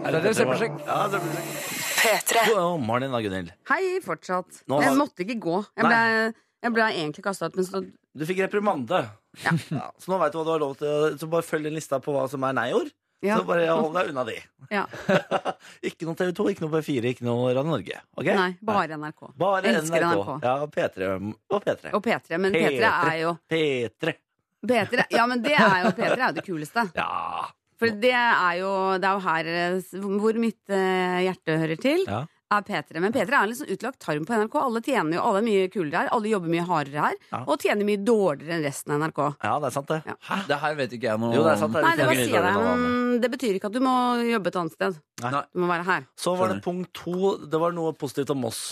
Der er det søppelsjekk. Ja, søppelsjekk. God morgen, da, Gunhild. Hei, fortsatt. Nå har- Jeg måtte ikke gå. Jeg ble, jeg ble egentlig kasta ut, men så Du fikk reprimande. Ja, så nå veit du hva du har lov til. å- Så bare følg den lista på hva som er nei-ord. ja, Så bare hold deg unna de. ja. Ikke noe TV 2, ikke noe P4, ikke noe Radio Norge. ok? Nei, bare NRK. Bare Elsker NRK. NRK. Ja, og P3. Og P3. Og P3. Men P3 P3. er jo P3. P3, ja, men det er jo P3 er jo det kuleste. Ja. For det er jo, det er jo her eh, hvor mitt eh, hjerte hører til. Ja. Er P3. Men P3 er en litt sånn utlagt tarm på NRK. Alle tjener jo, alle er mye kulere her. Alle jobber mye hardere her. Ja. Og tjener mye dårligere enn resten av NRK. ja, det er sant, det. Ja. Hæ? Det her vet ikke jeg noe Jo, det er sant. om. Det er Nei, litt sånn det var mye sier dårligere enn jeg, alle andre. men mm, det betyr ikke at du må jobbe et annet sted. Nei. Du må være her. Så var det Skjønner. punkt to. Det var noe positivt om Moss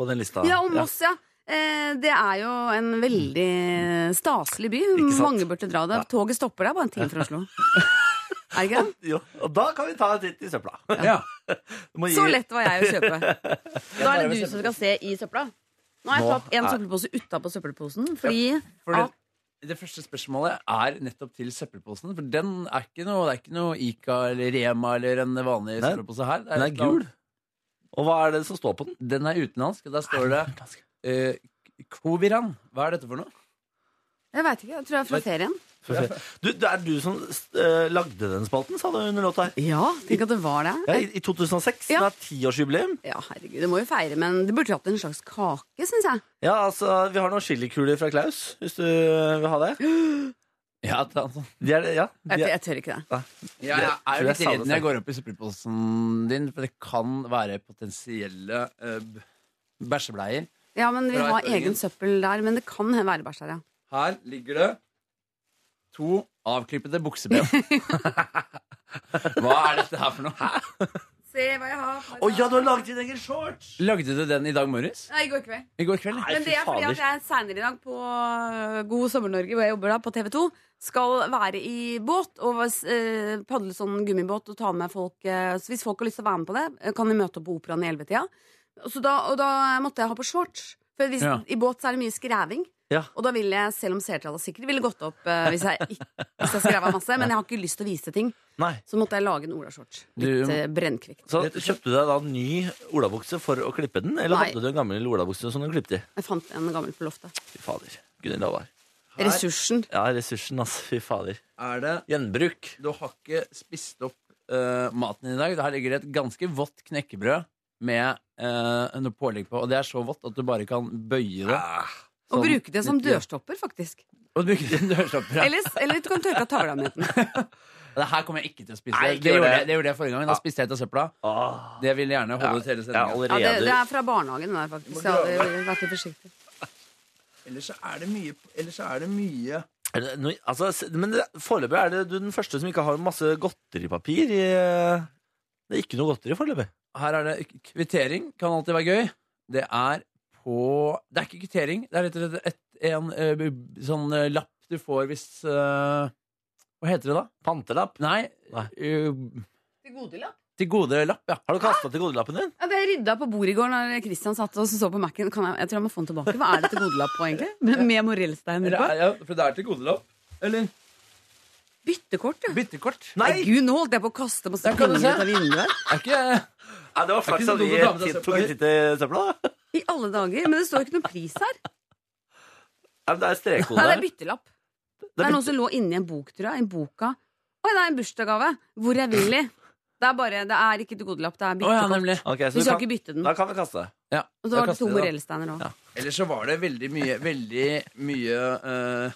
på den lista. Ja, og Moss, ja. Eh, Det er jo en veldig staselig by. Ikke sant? Mange burde dra der. Toget stopper der bare en time fra Oslo. Er det ikke det? Jo, og da kan vi ta en titt i søpla. Ja. Du må gi- Så lett var jeg å kjøpe. Da er det du som skal se i søpla. Nå har jeg Nå tatt en er- søppelpose utapå søppelposen, fordi Fordi at det første spørsmålet er nettopp til søppelposen. For den er ikke noe, det er ikke noe Ica eller Rema eller en vanlig Nei, søppelpose her. Det Den er et gul. navn. Og hva er det som står på den? Den er utenlandsk. og Der står det eh, Koviran. Hva er dette for noe? Jeg veit ikke. Jeg tror jeg er fra ferien. Du, det er du som eh, lagde den spalten, sa du under låta her. Ja, tenk at det var det. Ja, I i 2006. Ja. Det er tiårsjubileum. Ja, herregud, det må jo feire, men det burde jo hatt en slags kake, syns jeg. Ja, altså, vi har noen chilikuler fra Klaus, hvis du vil ha det. Ja, det er sånn. De er, ja, Jeg, de er, jeg tør ikke Ja, det. jeg er tror jo jeg litt sa det redd når jeg selv. går opp i søppelposen din, for det kan være potensielle eh, b- bæsjebleier. Ja, men vi Fra har Øringen. egen søppel der, men det kan være bæsj der, ja. Her ligger det to avklippede bukseben. Hva er dette her for noe? Se hva jeg har. Å ja, du har laget din egen shorts! Lagde du den i dag morges? Nei, i går kveld. I går kveld? Nei, Men fy det er fordi at fader. jeg senere i dag på øh, God sommer-Norge, hvor jeg jobber da, på TV 2, skal være i båt og øh, padle sånn gummibåt og ta med folk øh, Så hvis folk har lyst til å være med på det, øh, kan de møte opp på Operaen i 11-tida. Så da, og da måtte jeg ha på shorts. For hvis, Ja. i båt så er det mye skreving. Ja. Og da ville jeg, selv om seertallet sikkert ville gått opp øh, hvis jeg, ikke- hvis jeg skreva masse, men jeg har ikke lyst til å vise ting, Nei. så måtte jeg lage en olashorts. Du- Litt øh, brennkvikt. Så kjøpte du deg da en ny olabukse for å klippe den, eller Nei. hadde du en gammel olabukse som du klippet i? Jeg fant en gammel på loftet. Fy fader. Gunhild Håvard. Ressursen. Ja, ressursen, altså. Fy fader. Er det Gjenbruk. Du har ikke spist opp eh, maten din i dag. Her ligger det et ganske vått knekkebrød med eh, noe pålegg på, og det er så vått at du bare kan bøye det. Ah. Og Sånn bruke det som litt- ja. dørstopper, faktisk. Og bruke det som dørstopper. ja. Eller, eller du kan tørke av tavla med den. Det her kommer jeg ikke til å spise. Nei, det, ikke gjør gjorde det. jeg, det gjorde jeg forrige gang. Da spiste jeg ut av søpla. Åh. Det vil gjerne holde ut hele Ja, sendinga. Ja, allerede. det, det er fra barnehagen, den der, faktisk. Jeg hadde vært litt forsiktig. Ellers så er det mye, ellers så er det mye. Er det noe- altså, s- men det- foreløpig er det du den første som ikke har masse godteripapir i eh, Det er ikke noe godteri foreløpig. Her er det k- kvittering. Kan alltid være gøy. Det er på Det er ikke kvittering. Det er rett og slett et, en eh, b- b- sånn eh, lapp du får hvis eh, Hva heter det da? Pantelapp. Nei. Nei. eh, Til godelapp? til gode lapp, ja. Har du kasta til godelappen din? Ja, det rydda på bordet i går når Christian satt og så på Mac-en. Kan jeg, jeg tror jeg må få den tilbake. Hva er det til godelapp på, egentlig? Med, med morellstein Eller, på? er- ja, for det er til gode lapp. Eller Byttekort, ja. byttekort. Nei, gud, nå holdt jeg på å kaste masse Der kan du penger se. ut av vinduet. Er ikke Ja, det var ikke flaks så at vi dumt å ta med seg tok søpla. en titt i søpla. da. I alle dager. Men det står jo ikke noen pris her. Ja, men det er strekkode Nei, det der. er byttelapp. Det er Det er bytte- noe som lå inni en bok, tror jeg. I boka. Oi, det er en bursdagsgave. Hvor jeg vil i. Det er bare Det er ikke til godelapp, det er Å ja, byttekort. nemlig. Ok, så Du du skal kan, ikke bytte den. da kan vi kaste. Ja, Og da så var det kaster to jeg det. morellsteiner òg. Ja. Eller så var det veldig mye, veldig mye eh,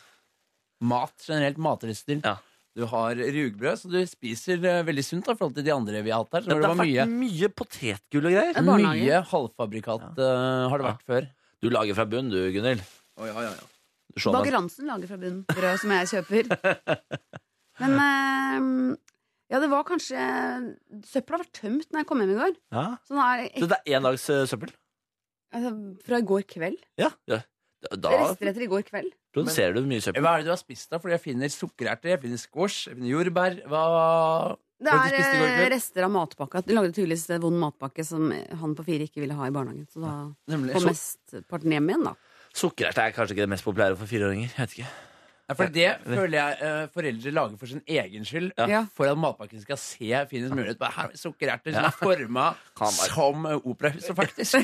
mat, generelt matrester. Ja. Du har rugbrød, så du spiser eh, veldig sunt da, i forhold til de andre vi har hatt her. Så Men det, det har var mye, vært mye potetgull og greier. er barnehage. mye halvfabrikat eh, har det vært før. Du lager fra bunn, du, Gunhild. Å, ja, ja, ja. Du skjønner. Baker Hansen lager fra bunnen brød som jeg kjøper. Men eh, ja, det var kanskje Søpla var tømt når jeg kom hjem i går. Ja. Så nå er Så det det er én dags eh, søppel? altså, fra i går kveld. Ja. ja. Da- Da Rester etter i går kveld. produserer du mye søppel. Hva er det du har spist da? Fordi jeg finner sukkererter, jeg finner squash, jeg finner jordbær. Hva Det Hva har du er spist i går eh, kveld? rester av matpakka. De lagde tydeligvis en vond matpakke som han på fire ikke ville ha i barnehagen. Så da Nemlig. kom mesteparten hjem igjen, da. Sukkererte er kanskje ikke det mest populære for fireåringer. Jeg vet ikke. Ja, for det føler jeg eh, foreldre lager for sin egen skyld. Ja. For at matpakken skal se finest mulig ut. Bare Her er sukkererter som er forma som eh, operahuset, faktisk.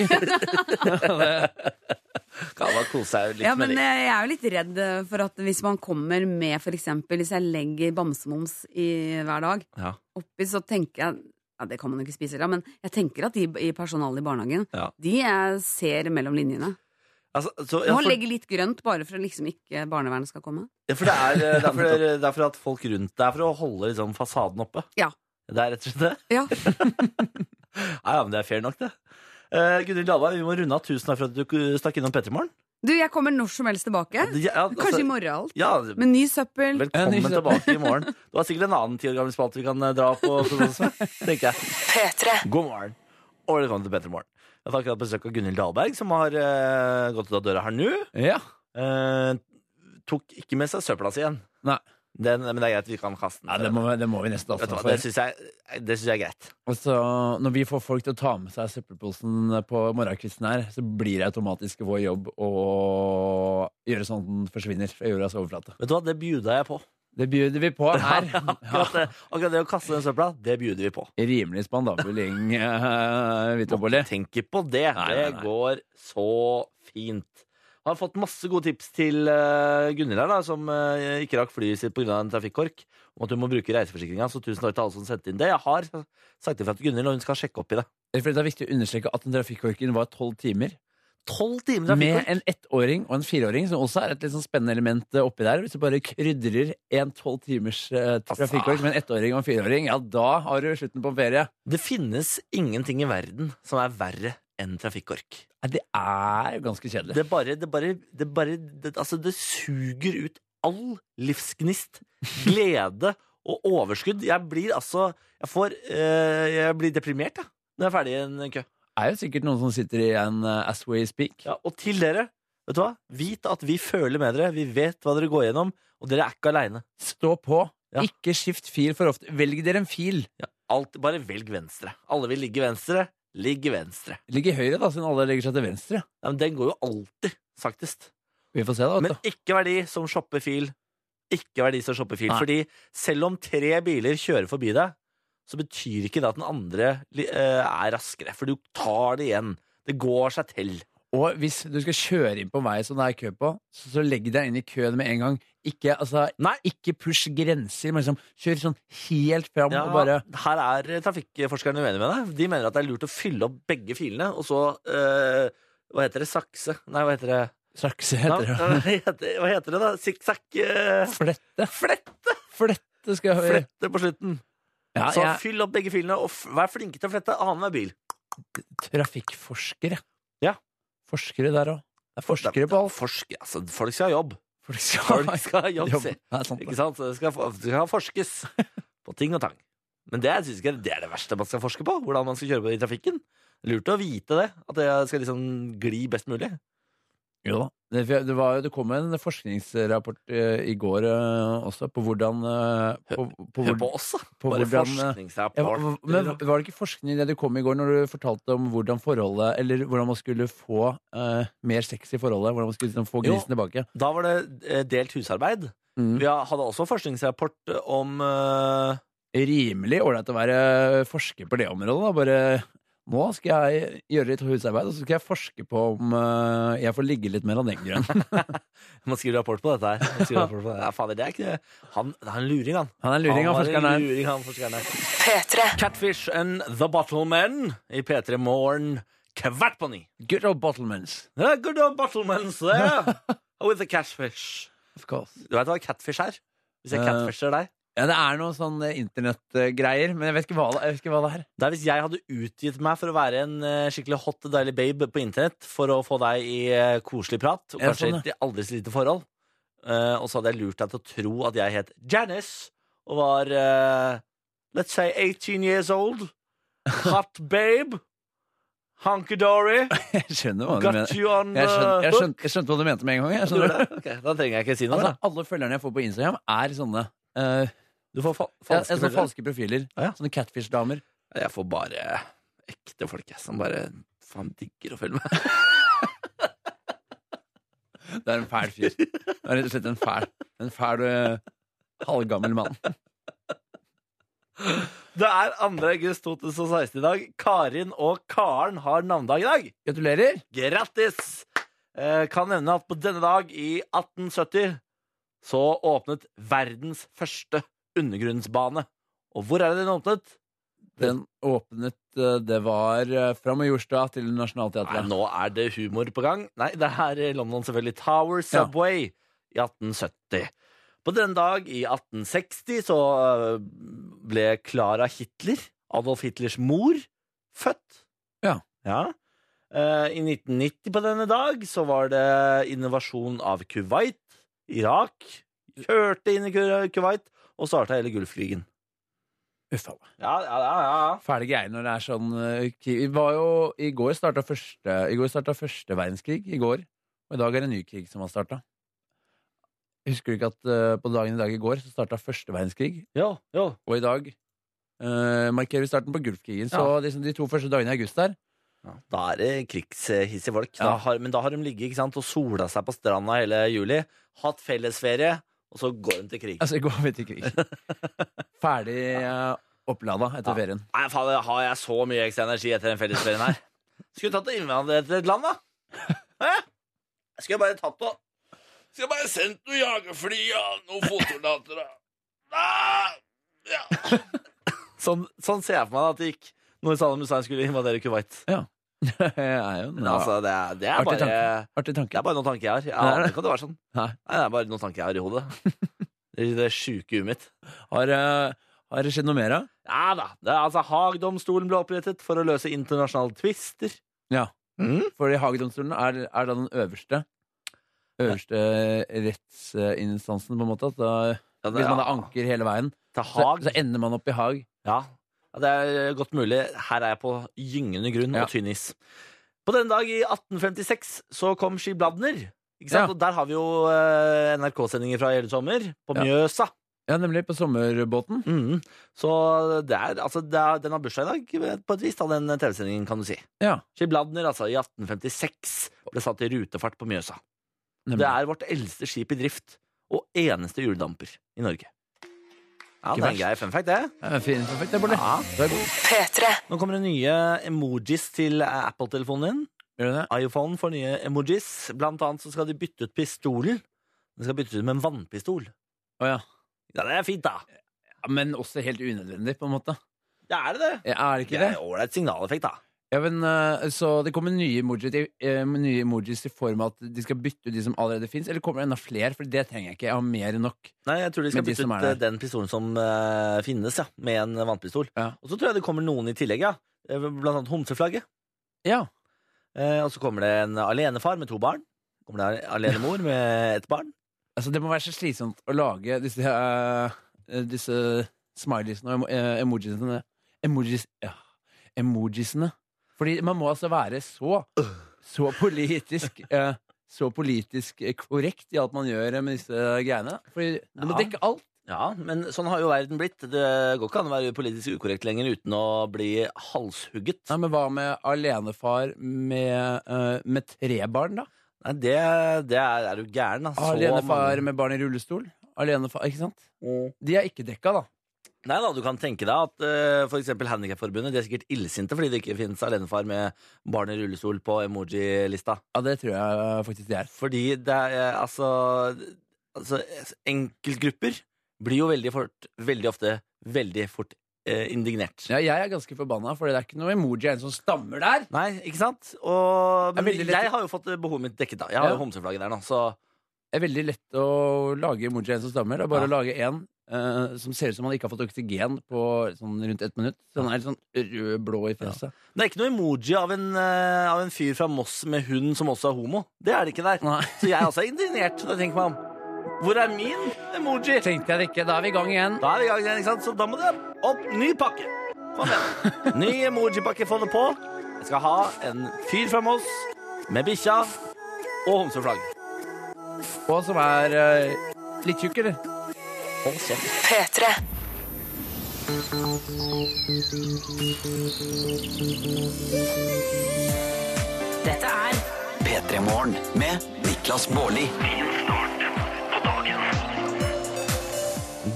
Kan man kose seg litt Ja, men med det. eh, jeg er jo litt redd eh, for at hvis man kommer med for eksempel Hvis jeg legger bamsemums i hver dag Ja. oppi, så tenker jeg ja, Det kan man jo ikke spise, da, men jeg tenker at de i personalet i barnehagen Ja. De jeg ser mellom linjene. Altså, så, ja, Må for, legge litt grønt bare for at liksom ikke barnevernet skal komme. ja, for det er, eh, det, er for, det er for at folk rundt Det er for å holde liksom, fasaden oppe. Ja. Det er rett og slett det. Ja. Ja, ja, men det er fair nok, det. Uh, Gunhild Dahlberg, vi må runde av. Tusen takk for at du stakk innom P3 Morgen. Du, jeg kommer når som helst tilbake. Ja, ja, altså, Kanskje i morgen alt. Ja, Med ny søppel. velkommen Ja, ny- tilbake i morgen. Du har sikkert en annen ti år gammel spalte vi kan eh, dra på, tenker jeg. God morgen, og velkommen til P3 Morgen. Jeg har akkurat besøk av Gunhild Dahlberg, som har eh, gått ut av døra her nå. ja. Eh, tok ikke med seg søpla si igjen. Nei. Den, men det er greit, vi kan kaste den. Nei, det må, vi- det må vi nesten Vet du avstå hva, det for. syns jeg, det synes jeg er greit. Og så, når vi får folk til å ta med seg søppelposen på morgenkvisten her, så blir det automatisk vår jobb å gjøre sånn at den forsvinner fra jordas overflate. Vet du hva, det bjuda jeg på. Det bjuder vi på her. Akkurat det, akkurat det å kaste den søpla, det bjuder vi på. Rimelig spandabel gjeng, uh, Vitobolle. Tenk ikke på det. Nei, nei, nei. Det går så fint. Har fått masse gode tips til eh, Gunhild her, da, som eh, ikke rakk flyet sitt pga. en trafikkork. Om at hun må bruke reiseforsikringa. Så tusen takk til alle som sendte inn det. Jeg har sagt ifra til Gunhild, og hun skal sjekke opp i det. For Det er viktig å understreke at den trafikkorken var tolv timer. Tolv timer Med trafikkork! en ettåring og en fireåring, som også er et litt sånn spennende element eh, oppi der. Hvis du bare krydrer en tolv timers eh, Altså. trafikkork med en ettåring og en fireåring, ja, da har du slutten på en ferie. Det finnes ingenting i verden som er verre enn trafikkork. Nei, det er jo ganske kjedelig. Det bare, det bare, det bare det, Altså, det suger ut all livsgnist, glede og overskudd. Jeg blir altså Jeg får eh, Jeg blir deprimert, jeg, når jeg er ferdig i en kø. Det er jo sikkert noen som sitter i en eh, as we speak. Ja, og til dere, vet du hva? Vit at vi føler med dere. Vi vet hva dere går gjennom, og dere er ikke aleine. Stå på. Ja. Ikke skift fil for ofte. Velg dere en fil. Alt, bare velg venstre. Alle vil ligge venstre. Ligge venstre. Ligg i høyre, da, siden alle legger seg til venstre. Ja, men den går jo alltid, saktest. Vi får se, da. Men Vet du. ikke vær de som shopper fil. Ikke vær de som shopper fil. Nei. Fordi selv om tre biler kjører forbi deg, så betyr ikke det at den andre li- eh, er raskere. For du tar det igjen. Det går seg til. Og hvis du skal kjøre inn på en vei som det er kø på, så, så legg deg inn i køen med en gang. Ikke, altså, Nei. ikke push grenser, men liksom kjør sånn helt fram Ja, og bare Her er trafikkforskerne uenige med deg. De mener at det er lurt å fylle opp begge filene, og så eh, Hva heter det? Sakse? Nei, hva heter det? Sakse Ja, heter hva det. heter- Hva heter det, da? Sikksakk? eh, Flette. Flette! Flette skal jeg høre. Flette på slutten. Ja, så jeg er fyll opp begge filene, og f vær flinke til å flette annenhver bil. trafikkforsker, jeg. Ja. Forskere der òg. Det er forskere på alt. Forsker, altså, folk skal ha jobb. Folk skal Folk skal ha jobb, Jobb. si. Det er sant, Ikke det. sant? Så Det skal, for- det skal forskes på ting og tang. Men det, synes jeg, det er det verste man skal forske på. Hvordan man skal kjøre på i trafikken. Lurt å vite det. At det skal liksom gli best mulig. Jo da. Det, det, var, jo- det kom en forskningsrapport eh, i går eh, også, på hvordan eh, på, på, Hør hvor- på oss, da. på Bare hvordan, eh, forskningsrapport. Ja, hva- men var det ikke forskning i det det kom i går, når du fortalte om hvordan forholdet Eller hvordan man skulle få eh, mer sex i forholdet? Hvordan man skulle liksom få Jo. grisen tilbake? Da var det eh, delt husarbeid. Mm. Vi hadde også forskningsrapport om eh, Rimelig ålreit å være forsker på det området. Da. Bare nå skal jeg gjøre litt husarbeid, og så skal jeg forske på om eh, jeg får ligge litt mer av den grønnen. Man skriver rapport på dette her. Man skriver rapport på det. Ja, fader, det er ikke Han, det er en luring, han. Han er en luring av var en forskeren her. luring, han forskeren her. Catfish and The Bottlemen i P3 Morgen kvart på ni. Good old bottlemans. Yeah, good old bottlemans there with the catfish. Of course. Du veit hva catfish er? Hvis jeg Eh. catfisher deg? Ja, det er noen sånne internettgreier, men jeg vet ikke hva det, jeg vet ikke hva det er. Det er hvis jeg hadde utgitt meg for å være en eh, skikkelig hot, deilig babe på internett for å få deg i eh, koselig prat, og Ja, kanskje sånn, et aldri så lite forhold, eh, og så hadde jeg lurt deg til å tro at jeg het Janice og var eh, let's say 18 years old, hot babe, hunky-dory, Jeg skjønner hva du got mener. you on the Jeg skjønte, jeg, hook. skjønte, jeg skjønte hva du mente med en gang. Jeg Du gjorde skjønner. det? Ok, da trenger jeg ikke si noe. Altså, da. alle følgerne jeg får på Instagram, er sånne eh, Du får fa ja, falske sånne følgere. falske profiler. Ja, ja. Sånne catfish-damer. Jeg får bare ekte folk jeg, som bare faen digger å følge med. Det er en fæl fyr. Det er rett og slett en fæl En fæl eh, halvgammel mann. Det er 2. august 2016 i dag. Karin og Karen har navnedag i dag. Gratulerer! Grattis! Eh, kan nevne at på denne dag i 1870 så åpnet verdens første undergrunnsbane. Og hvor er det den åpnet? Den åpnet eh, Det var eh, fra Majorstua til Nei, Nationaltheatret. nå er det humor på gang. Nei, det er i London selvfølgelig Tower Subway i 1870. På denne dag i 1860 så eh, ble Clara Hitler, Adolf Hitlers mor, født. Ja. Eh, I 1990 på denne dag så var det innovasjon av Kuwait, Irak, kjørte inn i Ku- Kuwait og starta hele Gullflygen. Uff a meg. Ja, ja, ja, ja. Fæle greier når det er sånn eh, krig. Vi var jo, I går starta første, i går starta første verdenskrig. I går. Og i dag er det en ny krig som har starta. Husker du ikke at eh, på dagen i dag i går så starta første verdenskrig? Jo, jo. Og i dag eh, markerer vi starten på Gulfkrigen. Så liksom de to første dagene i august der Da er det krigshissige folk. Da Ja. har, men da har de ligget ikke sant, og sola seg på stranda hele juli, hatt fellesferie, og så går de til krig. Altså, går vi til krig. Ferdig eh, opplada etter Ja. ferien. Nei, faen, har jeg så mye ekstra energi etter den fellesferien her? Skulle tatt og innvandret til et land, da. Hæ? Jeg skulle bare tatt og Skulle bare sendt noen jagerfly og noen fotsoldater og ah! ja. sånn, sånn ser jeg for meg at det gikk når Saddam Hussein skulle invadere Kuwait. det er jo en Men altså, det er, det er Artig bare artig Det tanke. er bare noen tanker jeg har. Jeg Nei, aner nei. ikke at det var sånn. Nei. Nei. det er bare noen tanker jeg har i hodet. Det, det sjuke huet mitt. Har, eh, har det skjedd noe mer, da? Ja da. Det er, altså, Haag-domstolen ble opprettet for å løse internasjonale tvister. Ja. Mm. Fordi Hagedomstolen er, er da den øverste Øverste rettsinstansen, på en måte. At da, Ja, det, hvis man da ja. anker hele veien, Til så, Haag. så ender man opp i Haag. Ja. ja, det er godt mulig. Her er jeg på gyngende grunn Ja. og tynn is. På denne dag i 1856 så kom Ski Bladner. Ikke sant? Ja. Og der har vi jo eh, NRK-sendinger fra hele sommer, på Ja. Mjøsa. Ja, nemlig på sommerbåten. Mhm. Så det er, altså, det er, den har bursdag i dag, eh, på et vis, da, den TV-sendingen, kan du si. Ja, Skibladner, altså, i 1856 ble satt i rutefart på Mjøsa. nemlig. Det er vårt eldste skip i drift, og eneste hjuldamper i Norge. Ja, det Ikke er en verst. grei fun fact, det. Det er en fin perfekt, det, Bolle. Ja. Du er god. Nå kommer det nye emojis til eh, Apple-telefonen din. Gjør du det? iPhone får nye emojis. Blant annet så skal de bytte ut pistolen. De skal bytte ut med en vannpistol. Å ja. Ja, det er fint, da. Ja, Men også helt unødvendig, på en måte. Ja, er det det? Ja, Er det ikke Det det? er ålreit signaleffekt, da. Ja, men, eh, så det kommer nye emojis, i- eh, nye emojis i form av at de skal bytte ut de som allerede fins, eller kommer det enda flere? For det trenger jeg ikke. Jeg har mer enn nok. Nei, jeg tror de skal Med de bytte som ut er eh, den pistolen som eh, finnes, ja, med en vannpistol. Ja. Og så tror jeg det kommer noen i tillegg, ja. Eh, Blant annet homseflagget. Ja. Eh, og så kommer det en alenefar med to barn. Kommer det en alenemor med ett barn. Altså, det må være så slitsomt å lage disse, eh, disse smileysene og emo eh, emojisene. Emojis, ja. Emojisene. Fordi man må altså være så, så politisk eh, Så politisk korrekt i alt man gjør med disse greiene. Fordi du må Ja. dekke alt. Ja, men sånn har jo verden blitt. Det går ikke an å være politisk ukorrekt lenger uten å bli halshugget. Nei, men hva med alenefar med, eh, med tre barn, da? Nei, det, det er, er du gæren, da. Så Alenefar mange- Mm. med barn i rullestol. Alenefar, ikke sant? De er ikke dekka, da. Nei da, du kan tenke deg at eh, for f.eks. Handikapforbundet de er sikkert illsinte fordi det ikke finnes alenefar med barn i rullestol på emoji-lista. Ja, det tror jeg eh, faktisk de er. Fordi det er eh, altså, altså Enkeltgrupper blir jo veldig fort, veldig ofte, veldig fort eh, indignert. Ja, jeg er ganske forbanna, for det er ikke noe emoji av en som stammer der. Nei, ikke sant? Og, Det er men veldig lett- jeg har jo fått behovet mitt dekket, da. Jeg har Ja. jo homseflagget der nå, så Det er veldig lett å lage emoji av en som stammer. Det er bare Ja. å lage en eh, som ser ut som han ikke har fått oksygen på sånn rundt ett minutt. Så han er litt sånn rød-blå i fjeset. Det er ikke noe emoji av en, eh, av en fyr fra Moss med hund som også er homo. Det er det ikke der. Nei. Så jeg også er indignert. Da tenker man Hvor er min emoji? Tenkte jeg det ikke. Da er vi i gang igjen. Da er vi i gang igjen, ikke sant? Så da må det opp ny pakke. Kom igjen. Ny emoji-pakke, få det på. Jeg skal ha en fyr fra Moss med bikkja og homseflagg. Og som er eh, litt tjukk, eller? Hold kjeft. Dette er P3 Morgen med Niklas Baarli. Din start på dagen.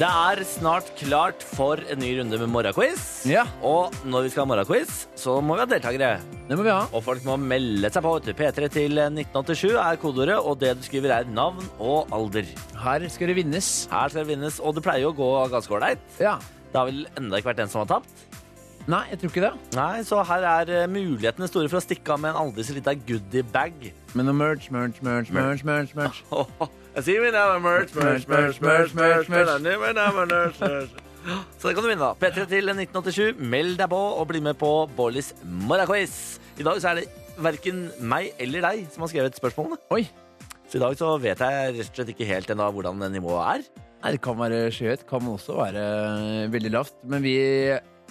Det er snart klart for en ny runde med morgenquiz. Ja. Og når vi skal ha morgenquiz, så må vi ha deltakere. Det må vi ha. Og folk må melde seg på. vet du. P3 til 1987 er kodeordet, og det du skriver, er navn og alder. Her skal det vinnes. Her skal det vinnes, og det pleier jo å gå ganske ålreit. Ja. Det har vel enda ikke vært en som har tapt. Nei, jeg tror ikke det. Nei, Så her er eh, mulighetene store for å stikke av med en aldri så lita goodiebag. Men noe merch, merch, merch, merch, merch. merch. Jeg sier vi never merch, merch, merch, merch, merch, merch, never, never, merch, merch. Så det kan du vinne, da. P3 til 1987. Meld deg på og bli med på Bollies morgenquiz. I dag så er det verken meg eller deg som har skrevet spørsmålene. Oi. Så i dag så vet jeg rett og slett ikke helt ennå hvordan nivået er. Nei, det kan være skyhøyt. Kan også være eh, veldig lavt. Men vi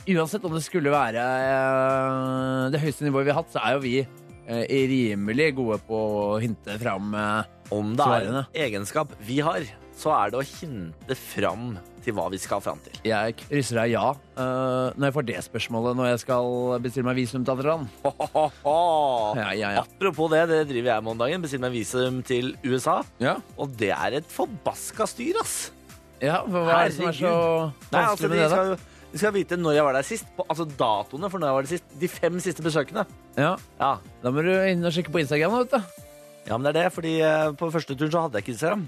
Uansett om det skulle være eh, det høyeste nivået vi har hatt, så er jo vi eh, rimelig gode på å hinte fram eh, Om det er en Svarene. egenskap vi har, så er det å hinte fram til hva vi skal fram til. Jeg krysser deg ja eh, når jeg får det spørsmålet når jeg skal bestille meg visum til andre land. Ah, Ja, ja, ja. Apropos det, det driver jeg med om dagen. Bestiller meg visum til USA. Ja. Og det er et forbaska styr, ass. ja for hva er det som er så Nei, altså, de vanskelig med det, da? skal, jo- de skal vite når jeg var der sist. På, altså datoene for når jeg var der sist. De fem siste besøkene. Ja, Ja, da må du inn og sjekke på Instagram, vet du. ja men det er det, fordi eh, på første turen så hadde jeg ikke Instagram.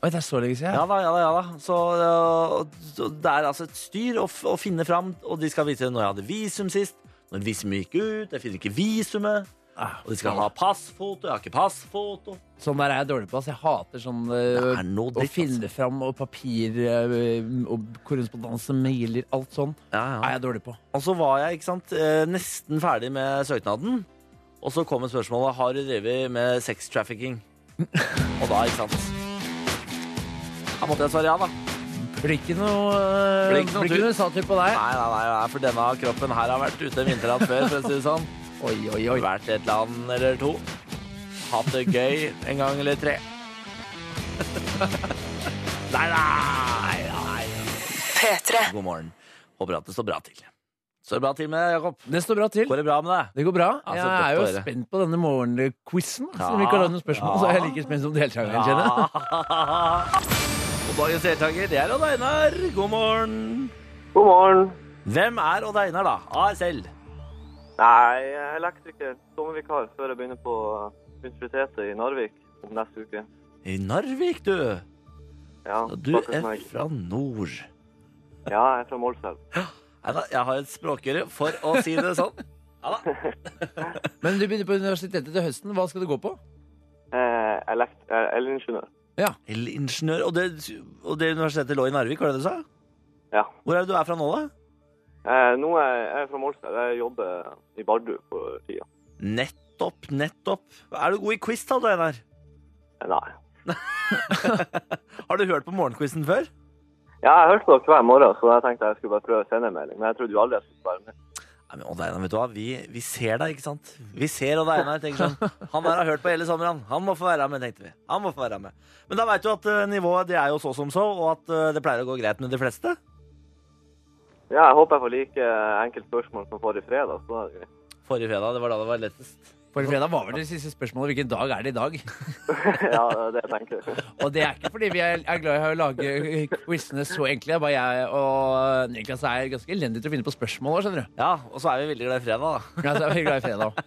Oi, det er så lenge siden. Ja da, ja da, ja da. Så, eh, så det er altså et styr å, f- å finne fram, og de skal vite når jeg hadde visum sist, når visumet gikk ut, jeg finner ikke visumet, Ah, og de skal ha passfoto, jeg har ikke passfoto. Sånn der er jeg dårlig på. ass. Jeg hater sånn eh, Det er noe å dritt, altså. finne fram og papir eh, og korrespondanse, mailer, alt sånn. Ja, Er jeg dårlig på. Og så var jeg ikke sant, eh, nesten ferdig med søknaden. Og så kom spørsmålet har du drevet med sex trafficking. Og da, ikke sant Da måtte jeg svare ja, da. Nei, Blir ikke noe eh, Blir ikke noe tur. Blir ikke noe satur på deg. nei, nei, nei, for denne kroppen her har vært ute en vinternatt før. for å si det sånn Oi, oi, oi. Vært i et land eller to. Hatt det gøy en gang eller tre. Nei, nei, nei. P3. God morgen. Håper at det står bra til. Står det bra til med deg, Jakob? Det står bra til. Går det bra med deg? Det går bra. Ja, så Jeg godt er å jo høre. spent på denne morgenquizen. Ja, Siden vi ikke har lagd noen ja. spørsmål, så er jeg like spent som deltakeren. kjenner jeg. Og dagens deltaker, det er Odd Einar. God morgen. God morgen. Hvem er Odd Einar, da? ASL. Nei, jeg er elektriker. Sommervikar før jeg begynner på universitetet i Narvik om neste uke. I Narvik, du. Ja, Og Du faktisk er meg. fra nord. Ja, jeg er fra Målselv. Nei da, jeg har et språkøre for å si det sånn. Ja da. Men du begynner på universitetet til høsten. Hva skal du gå på? Eh, elekt eh, elingeniør. Elingeniør. Og det, og det universitetet lå i Narvik, var det du sa? Ja. Hvor er det du er fra nå, da? Eh, nå er jeg- jeg er fra Målselv. Jeg jobber i Bardu for tida. Nettopp, nettopp. Er du god i quiz, da, Odd Einar? Eh, Nei. Har du hørt på morgenquizen før? Ja, jeg hørte på dere hver morgen, så jeg tenkte jeg skulle bare prøve å sende en melding. Men jeg trodde jo aldri jeg skulle være med. Nei, men Odd Einar, vet du hva? Vi, vi ser deg, ikke sant? Vi ser Odd Einar. tenker sånn. Han der har hørt på hele sommeren. Han må få være med, tenkte vi. Han må få være med. Men da veit du at eh, nivået det er jo så som så, og at eh, det pleier å gå greit med de fleste. Ja, jeg håper jeg får like eh, enkelt spørsmål som forrige fredag. Så er det greit. Forrige fredag, det var da det var lettest. Forrige fredag var vel det siste spørsmålet. Hvilken dag er det i dag? ja, det er det jeg tenker. Og det er ikke fordi vi er, er glad i å lage quizene så enkle. Det er Bare jeg og Niklas er ganske elendige til å finne på spørsmål. også, skjønner du? Ja, og så er vi veldig glad i fredag, da. Ja, så er vi glad i fredag.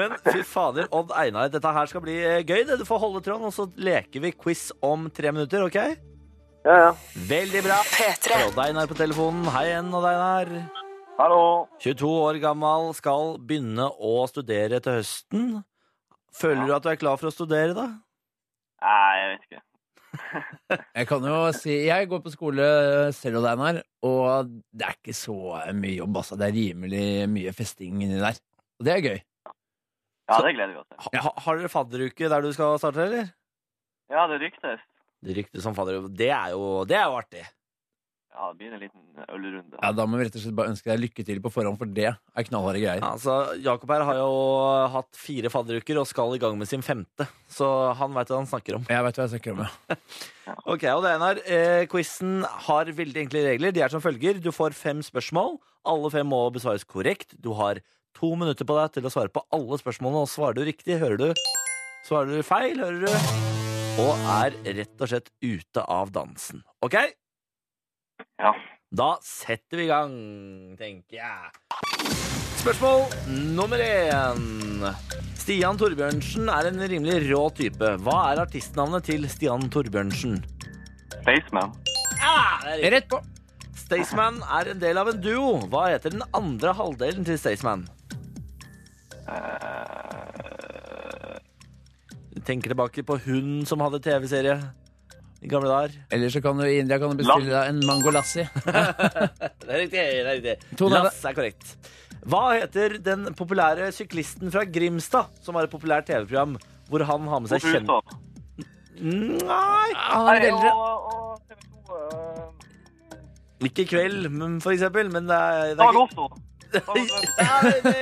Men fy fader, Odd Einar, dette her skal bli eh, gøy. det. Du får holde tråden, og så leker vi quiz om tre minutter, OK? Ja, ja. Veldig bra. P3. Odd Einar på telefonen. Hei igjen, Odd Einar. Hallo. 22 år gammel, skal begynne å studere til høsten. Føler du at du er klar for å studere, da? Nei, jeg vet ikke. Jeg kan jo si Jeg går på skole selv, og Einar, og det er ikke så mye jobb, altså. Det er rimelig mye festing inni der. Og det er gøy. Ja, det gleder vi oss til. Ha, ha- Har dere fadderuke der du skal starte, eller? Ja, det ryktes. Det ryktes som fadderuke. Det er jo, det er jo artig. Ja, det blir en liten ølrunde. Ja, Da må vi rett og slett bare ønske deg lykke til på forhånd, for det er knallharde greier. Altså, Jakob her har jo hatt fire fadderuker og skal i gang med sin femte. Så han veit hva han snakker om. Jeg veit hva jeg snakker om. ja. Ok, og det Einar, eh, Quizen har veldig enkle regler. De er som følger. Du får fem spørsmål. Alle fem må besvares korrekt. Du har to minutter på deg til å svare på alle spørsmålene. Og svarer du riktig, hører du. Svarer du feil, hører du. Og er rett og slett ute av dansen. Ok? Ja. Da setter vi i gang, tenker jeg. Spørsmål nummer én. Stian Torbjørnsen er en rimelig rå type. Hva er artistnavnet til Stian Torbjørnsen? Spaceman. Ah, det er riktig. Rett på! Staysman er en del av en duo. Hva heter den andre halvdelen til Staysman? Eh. Tenker tilbake på hun som hadde TV-serie i gamle dager. Eller så kan du i India kan du bestille deg en mango lassi. Det er riktig. det er riktig. Tone, er det- Lass er korrekt. Hva heter den populære syklisten fra Grimstad, som har et populært TV-program hvor han har med seg kjent... Pluto. Nei! Han er litt eldre. og, og TV 2 uh, Ikke i kveld, men- for eksempel, men det er, det er Dag ikke- Otto. Dag Otto. Ja, det er det.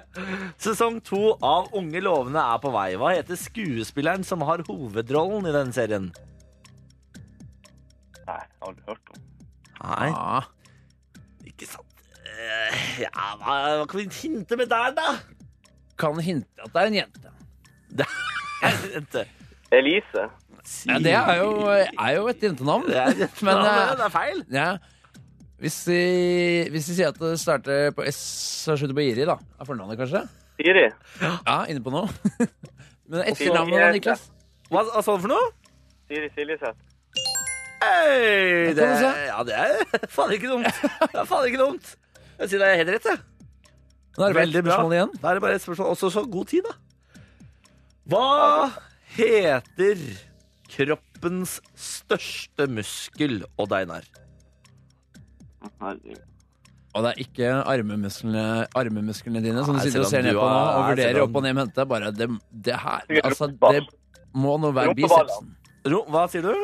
Sesong to av Unge lovende er på vei. Hva heter skuespilleren som har hovedrollen i denne serien? Nei, jeg har aldri hørt om. Nei, Ah, ikke sant. Eh, Ja, hva, hva kan vi hinte med der, da? kan hinte at det er en jente. Jente. Elise. Ja, det er jo, er jo et jentenavn. Det er, et Men, navn, eh, ja, det er feil. Ja. Hvis vi, hvis vi sier at det starter på S og slutter på Iri, da. Er fornavnet, kanskje? Siri. Ja, inne på noe. Men Også- etternavnet, eh, da, Niklas? Hva hva sa du for noe? Siri Siljeseth. Hey, det, kan du se. ja, det er faen ikke dumt. Det er faen ikke dumt. Jeg sier det er helt rett, jeg. Nå er det bare Veldig et bra. spørsmål igjen. Da er det bare et spørsmål. Også så god tid, da. Hva heter kroppens største muskel, Odd Einar? Herregud. Og det er ikke armemusklene, armemusklene dine som du Nei, sitter og selv ser om ned du på nå er- og vurderer selv om- opp og ned i mente. Det er Bare det, det her Sikkert Altså, rumpeball. det må nå være Rumpeball, bicepsen. Ro, hva sier du?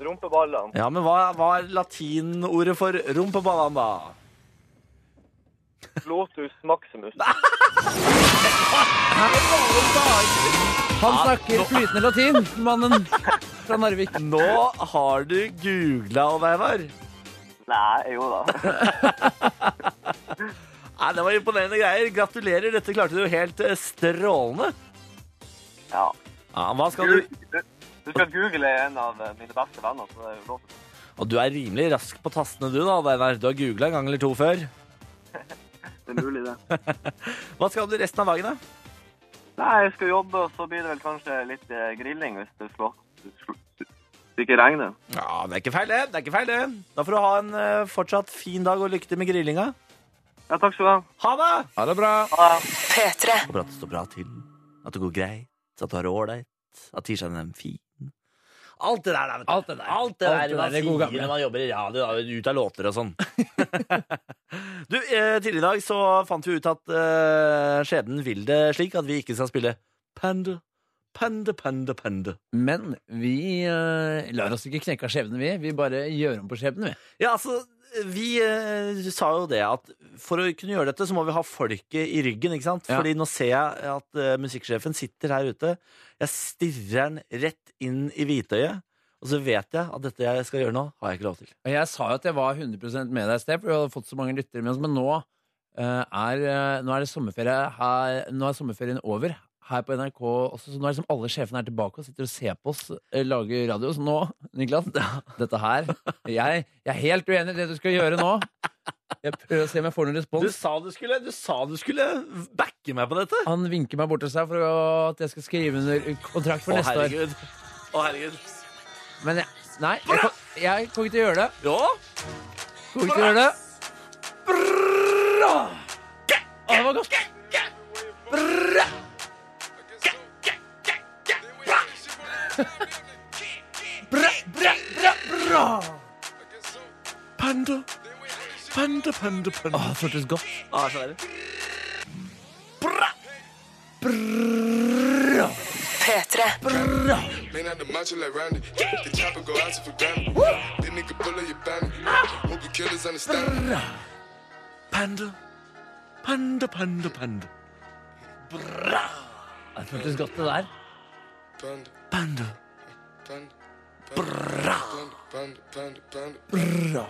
Rumpeballene. Ja, men hva, hva er latinordet for rumpeballene, da? Lotus Maximus. Han snakker flytende latin, mannen fra Narvik. Nå har du googla, Odd Einar. Nei, jo da. Nei, Det var imponerende greier. Gratulerer. Dette klarte du helt eh, strålende. Ja. Ja, hva skal Du, du? du, du skal google en av eh, mine beste venner, så det er jo lov. Og du er rimelig rask på tastene, du, da, Odd Einar. Du har googla en gang eller to før. Det er mulig, det. Hva skal du resten av dagen, da? Nei, jeg skal jobbe, og så blir det vel kanskje litt eh, grilling hvis det slår. Hvis det ikke regner. Ja, Det er ikke feil, det. det, er ikke feil det. Da får du ha en eh, fortsatt fin dag og lykke til med grillinga. Ja, takk skal du ha. Ha det! Ha det bra. P3. Håper at det står bra til, at det går greit, at du har det ålreit, at tirsdagen er en fin Alt det der, da, vet du. Alt det der. Alt det Alt der det man der er gode sier gamle. når man jobber i radio, da, ut av låter og sånn. du, eh, tidligere i dag så fant vi ut at eh, skjebnen vil det slik at vi ikke skal spille Panda, Panda, Panda, Panda. Men vi eh, lar oss ikke knekke av skjebnen, vi. Vi bare gjør om på skjebnen, vi. Ja, altså, vi eh, sa jo det at for å kunne gjøre dette, så må vi ha folket i ryggen, ikke sant? Ja. Fordi nå ser jeg at eh, musikksjefen sitter her ute. Jeg stirrer han rett inn i hvitøyet, og så vet jeg at dette jeg skal gjøre nå, har jeg ikke lov til. Og jeg sa jo at jeg var 100 med deg i sted, for vi hadde fått så mange lyttere med oss. Men nå, eh, er, eh, nå er det sommerferie her, Nå er sommerferien over her på NRK også, så nå er liksom alle sjefene her tilbake og sitter og ser på oss eh, lage radio. Så nå, Niklas, dette her Jeg, jeg er helt uenig i det du skal gjøre nå. Jeg prøver å se om jeg får noen Du respons. sa du skulle, du sa du skulle backe meg på dette. Han vinker meg bort til seg for å, at jeg skal skrive under kontrakt for Å, neste år. herregud. Å, herregud. Men jeg, nei, jeg, kom- jeg kommer ikke til å gjøre det. Ja. Kommer ikke til å gjøre det. Å, det var godt. Panda, panda, panda, panda. Å, det føltes godt. Ah, så er det. P3. Man out the macho like Randy. The chopper go out to for granted. That nigga pull up your banner. Hope you killers understand. Panda, panda, panda, panda. Det føltes godt, det der. Panda, Panda. panda, panda, panda, panda, panda, panda.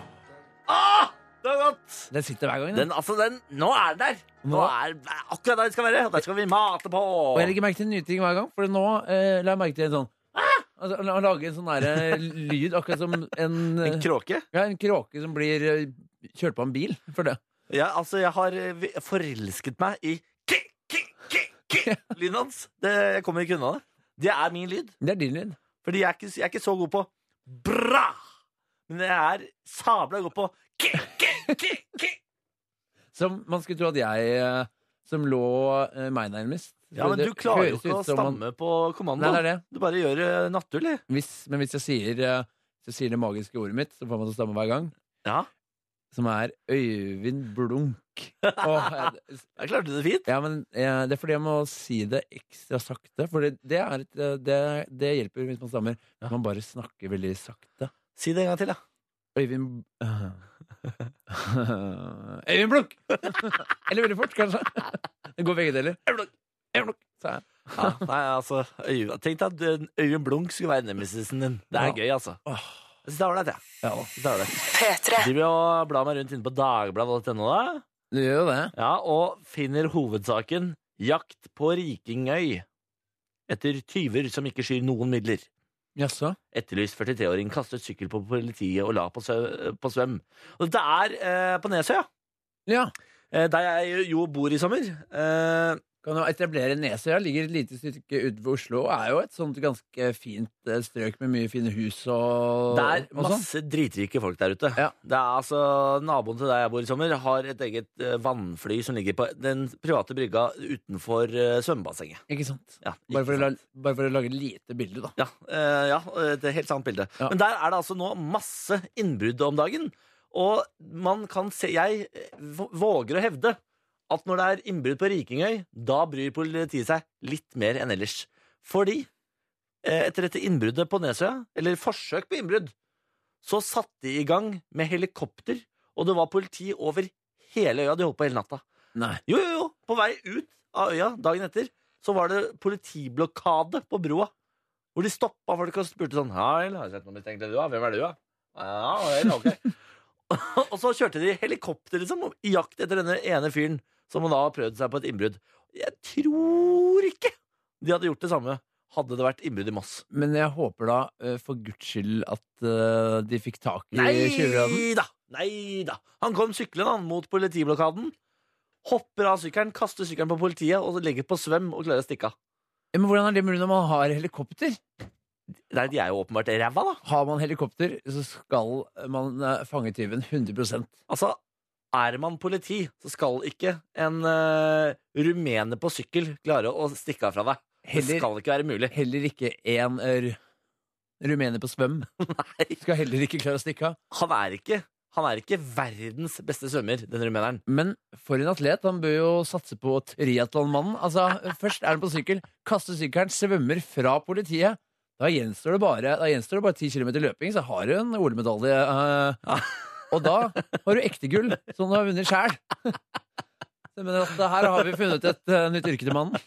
Det er godt. Den sitter hver gang. Den. Den, altså, den, nå er den der! Nå Nå. er den akkurat der den skal være, og der skal vi mate på! Og jeg legger merke til nye ting hver gang, for nå eh, la jeg merke til en sånn «Ah!» Altså, han- han lager en sånn derre lyd, akkurat som en, En eh, kråke? ja, en kråke som blir eh, kjørt på en bil for det. Ja, altså, jeg har eh, vi- forelsket meg i ki-ki-ki-ki-lyden hans. Det, jeg kommer ikke unna det. Det er min lyd. Det er din lyd. Fordi jeg er ikke, jeg er ikke så god på bra, men jeg er sabla god på ki-ki-ki-ki. Som man skulle tro at jeg, eh, som lå eh, meg nærmest Ja, men Det du klarer jo høres ikke ut å som man- stamme på kommando. Nei, det er det. Du bare gjør det naturlig. Hvis, men hvis jeg sier, eh, hvis jeg sier det magiske ordet mitt, så får man til å stamme hver gang, Ja, som er Øyvind Blunk. Åh, jeg- jeg klarte det fint. Ja, men eh, Det er fordi jeg må si det ekstra sakte. For det, det, er et, eh, det, det hjelper hvis man stammer. Ja. Man bare snakker veldig sakte. Si det en gang til, da. Øyvind Øyvind Blunk! Eller veldig fort, kanskje. Det går begge deler. Øyvind Blunk! Øyvind Blunk! sa jeg. Ja, nei, altså, Øyvind, Tenk deg at eh, Øyvind Blunk skulle være nemesisen din. Det er Ja. gøy, altså. Åh. Jeg syns det er ålreit, jeg. Ja, da. Jeg synes det er ålreit. P3. Driver og blar meg rundt inne på dagbladet.no, da. Du gjør jo det. Ja, og finner hovedsaken 'Jakt på rikingøy' etter tyver som ikke skyr noen midler. Jaså? Etterlyst 43-åring kastet sykkel på politiet og la på, sø på svøm. Og dette er eh, på Nesøya, Ja. eh, der jeg jo bor i sommer. Eh, Kan jo etablere Nesøya. Ligger et lite stykke utenfor Oslo og er jo et sånt ganske fint eh, strøk med mye fine hus og det er og sånn. masse dritrike folk der ute. Ja. Det er altså Naboen til der jeg bor i sommer, har et eget eh, vannfly som ligger på den private brygga utenfor eh, svømmebassenget. Ikke sant? Ja, Bare for, ikke å, la- bare for å lage et lite bilde, da. Ja, eh, ja, et helt sant bilde. Ja. Men der er det altså nå masse innbrudd om dagen. Og man kan se Jeg eh, v- våger å hevde at når det er innbrudd på Rikingøy, da bryr politiet seg litt mer enn ellers. Fordi eh, etter dette innbruddet på Nesøya, eller forsøk på innbrudd, så satte de i gang med helikopter, og det var politi over hele øya. De holdt på hele natta. Nei. Jo, jo, jo. På vei ut av øya dagen etter så var det politiblokade på broa. Hvor de stoppa folk og spurte sånn Hei, har jeg sett noe mistenkelig du, da? Hvem er du, da? Ja, vel, ok. og så kjørte de helikopter, liksom, i jakt etter denne ene fyren som da har prøvd seg på et innbrudd. Jeg tror ikke de hadde gjort det samme hadde det vært innbrudd i Moss. Men jeg håper da, eh, for guds skyld, at eh, de fikk tak i tjuvraden. da! Nei da! Han kom syklende han, mot politiblokaden. Hopper av sykkelen, kaster sykkelen på politiet og så legger på svøm og klarer å stikke av. Ja, Men hvordan er det mulig når man har helikopter? Nei, de er jo åpenbart ræva, da. Har man helikopter, så skal man eh, fange tyven 100 Altså, er man politi, så skal ikke en eh, rumener på sykkel klare å stikke av fra deg. Det Heller, skal ikke være mulig. heller ikke én eh, rumener på svøm. Nei, Skal heller ikke klare å stikke av. han er ikke, han er ikke verdens beste svømmer, den rumeneren. Men for en atlet. Han bør jo satse på triatlonmannen. Altså, først er han på sykkel, kaster sykkelen, svømmer fra politiet. Da gjenstår det bare, da gjenstår det bare 10 km løping, så har du en OL-medalje. eh, Og da har du ekte gull, som du har vunnet sjæl. Men at her har vi funnet et eh, nytt yrke til mannen.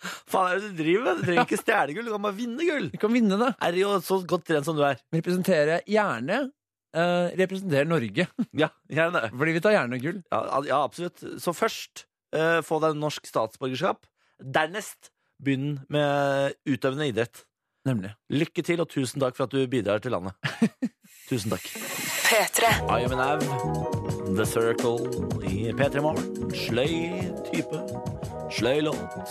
Faen, hva er det du driver med? Du trenger ikke stjele gull, du kan bare vinne gull. Du kan vinne det. Er jo så godt trent som du er. Representere gjerne eh, Representere Norge. Ja, gjerne. Fordi vi tar gjerne gull. Ja, al- ja absolutt. Så først eh, få deg norsk statsborgerskap. Dernest begynn med utøvende idrett. Nemlig. Lykke til, og tusen takk for at du bidrar til landet. tusen takk. P3. I am an av. The Circle i P3 Morgen. Sløy type. Sløy låt.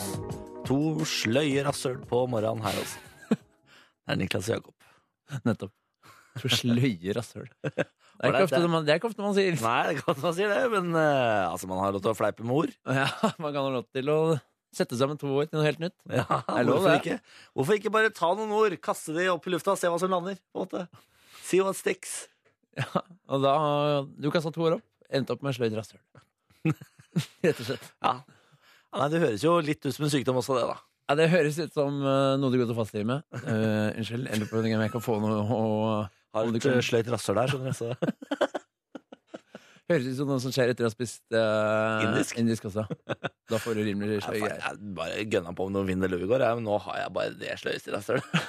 To sløye rasshøl på morgenen her, altså. Det er Niklas og Jakob. Nettopp. Så sløye rasshøl. Det er Var ikke det- ofte man, det er ikke ofte man sier Nei, det er godt man sier det, men eh, altså, man har lov til å fleipe med ord. Ja, man kan ha lov til å sette sammen to ord til noe helt nytt. Ja, er lov, hvorfor, det. ikke? hvorfor ikke bare ta noen ord, kaste de opp i lufta, se hva som lander? på en måte? See what sticks. Og da Du kasta to ord opp, endte opp med sløyd rasshøl. Rett og slett. Ja. Ja, Nei, Det høres jo litt ut som en sykdom også, det, da. Ja, det høres ut som eh, noe du går til fastliv med. Eh, unnskyld, eller på om jeg kan få noe å Har Om et du kan- eh, sløyt rasshøl der, skjønner du. Så. Høres ut som noe som skjer etter å ha spist eh, Indisk. også. Da får du rimelig Ja, sløy faen, greier. Jeg bare gønna på om noen vinner eller ugår, jeg, men nå har jeg bare det sløyeste rasshølet.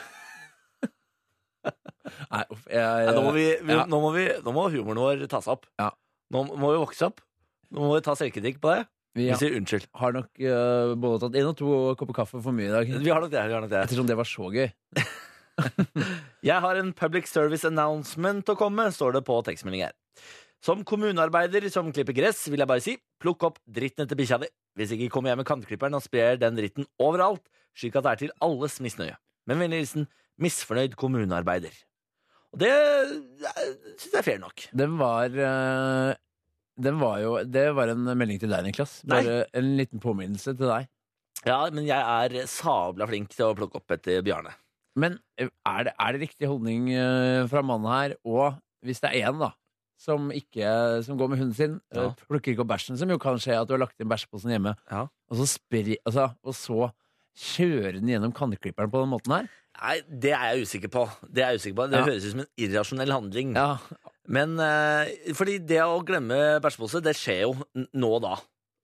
Nei, uff, jeg, Nei, Nå, må vi- vi- ja. nå, må vi- nå må humoren vår tas opp. Ja. Nå må vi vokse opp. Nå må vi ta selvkritikk på det. vi Vi sier unnskyld. har nok eh, både tatt én og to kopper kaffe for mye i dag. Vi har nok det. vi har nok det. Ettersom det var så gøy. Jeg har en public service announcement å komme, står det på tekstmelding her. Som kommunearbeider som klipper gress, vil jeg bare si, plukk opp dritten etter bikkja di. Hvis ikke kommer jeg med kantklipperen og sprer den dritten overalt, slik at det er til alles misnøye. Men vennlig hilsen misfornøyd kommunearbeider. Og det syns jeg er fair nok. Den var eh, Den var jo Det var en melding til deg, Niklas. Nei. Bare en liten påminnelse til deg. Ja, men jeg er sabla flink til å plukke opp etter Bjarne. Men eh, er det, er det riktig holdning eh, fra mannen her, og hvis det er én, da, som, ikke, som går med hunden sin, Ja. eh, plukker ikke opp bæsjen, som jo kan skje at du har lagt inn bæsjeposen hjemme, Ja. og så spre, altså, og så kjøre den gjennom kantklipperen på den måten her? Nei, det er jeg usikker på. Det er jeg usikker på. Det Ja. høres ut som en irrasjonell handling. Ja. Men eh, fordi det å glemme bæsjepose, det skjer jo n- nå og da.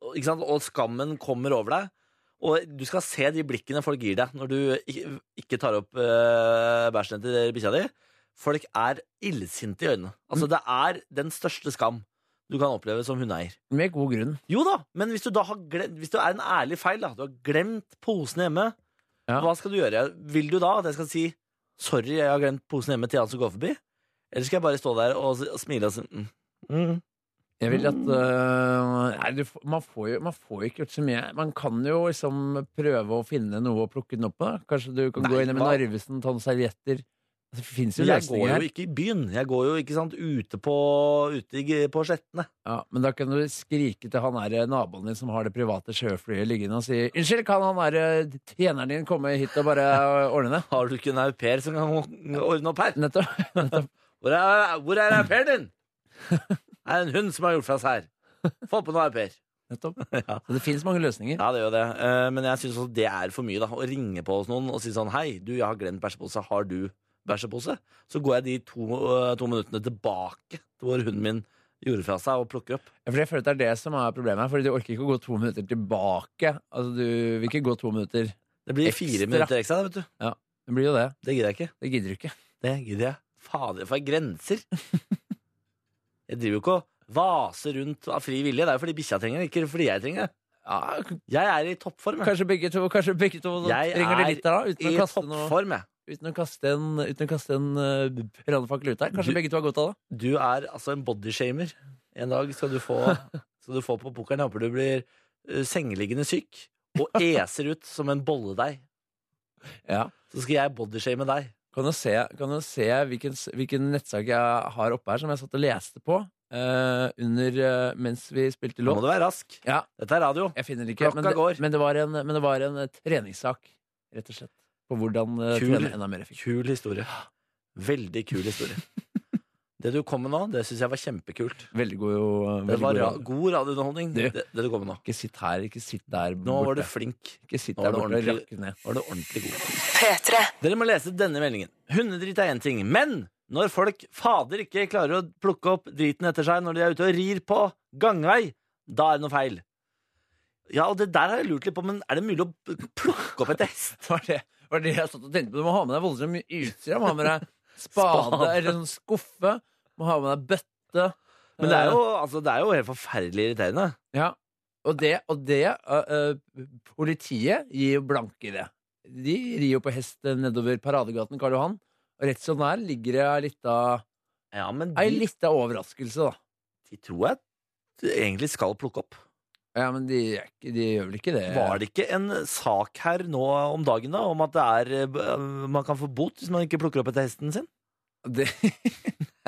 Og- Ikke sant? Og skammen kommer over deg. Og du skal se de blikkene folk gir deg når du ik- ikke tar opp eh, bæsjen til bikkja di. Folk er illsinte i øynene. Altså, det er den største skam du kan oppleve som hundeeier. Med god grunn. Jo da, men hvis du da har glemt, hvis det er en ærlig feil, da, du har glemt posen hjemme, Ja. hva skal du gjøre? Vil du da at jeg skal si 'sorry, jeg har glemt posen hjemme' til han som går forbi? Eller skal jeg bare stå der og, s- og smile og si mm. Mm. Jeg vil at øh, nei, du, f- man, får jo, man får jo ikke gjort så mye. Man kan jo liksom prøve å finne noe å plukke den opp på. da. Kanskje du kan Nei, gå inn med hva? Narvesen, ta noen servietter. Altså, det fins jo Jeg går løsninger jo her. ikke i byen. Jeg går jo ikke sant, ute på, ute i, på Skjetne. Ja, men da kan du skrike til han her, naboen din som har det private sjøflyet liggende, og si 'Unnskyld, kan han her, tjeneren din komme hit og bare øh, ordne det?' Har du ikke en au pair som kan ordne opp her? Nettopp. Nettopp. Hvor er, hvor er au pairen din? Det er en hund som har gjort fra seg her. Få på noe au pair. nettopp. Ja. Så det fins mange løsninger. Ja, det gjør det. Eh, Men jeg syns det er for mye, da. Å ringe på hos noen og si sånn Hei, du, jeg har glemt bæsjepose. Har du bæsjepose? Så går jeg de to, eh, to minuttene tilbake til hvor hunden min gjorde fra seg, og plukker opp. For jeg føler at det er det som er problemet her, Fordi du orker ikke å gå to minutter tilbake. Altså, du vil ikke gå to minutter. Det blir Ekstra. fire minutter ekstra, vet du. Det blir jo det. Det gidder jeg ikke. Det gidder du ikke. Det gidder jeg. Fader, for grenser! Jeg driver jo ikke og vaser rundt av fri vilje. Det er jo fordi bikkja trenger det, ikke fordi jeg trenger det. Ja, Jeg er i toppform. jeg. Kanskje begge to, kanskje begge to Jeg trenger det er litt der, da? Uten I å kaste, noe, toppform, jeg. uten å kaste en, uten å kaste en uh, brannfakkel ut der? Kanskje Du- begge to har godt av det? Du er altså en bodyshamer. En dag skal du få, skal du få på pokeren. Jeg Håper du blir eh, sengeliggende syk og eser ut som en bolledeig. Ja. Så skal jeg bodyshame deg. Kan du se, kan du se hvilken, s- hvilken nettsak jeg har oppe her, som jeg satt og leste på eh, under, eh, mens vi spilte Nå må låt? du være rask. Ja. Dette er radio. Jeg finner det ikke, men Klokka det, går. men, det var en, men det var en eh, treningssak, rett og slett. På hvordan eh, Kul. trene enda mer effektivt. Kul historie. Veldig kul historie. Det du kom med nå, det syns jeg var kjempekult. Veldig god jo Det veldig var god ra radio. god radiounderholdning, Du. det, det du kom med nå. Ikke sitt her, ikke sitt der borte. Nå var du flink. ikke sitt nå der var borte det og ordentlig- rakke ned. Var du ordentlig god. P3. Dere må lese denne meldingen. Hundedritt er én ting, men når folk fader ikke klarer å plukke opp driten etter seg når de er ute og rir på gangvei, da er det noe feil. Ja, og det der har jeg lurt litt på, men er det mulig å plukke opp et hest? var det, var det jeg satt og tenkte på. Du må ha med deg voldsomt mye utstyr. Du må ha med deg spade, Spade. eller sånn skuffe. Du må ha med deg bøtte. Men det er jo, altså, det er jo helt forferdelig irriterende. Eh, Ja. Og det, og det øh, øh, Politiet gir jo blanke i det. De rir jo på hest nedover Paradegaten Karl Johan. Og rett som det er, ligger det ei lita Ja, men Ei de, lita overraskelse, da. de tror jeg du egentlig skal plukke opp. Ja, men de, er ikke- de gjør vel ikke det? Var det ikke en sak her nå om dagen da, om at det er, eh, man kan få bot hvis man ikke plukker opp etter hesten sin? det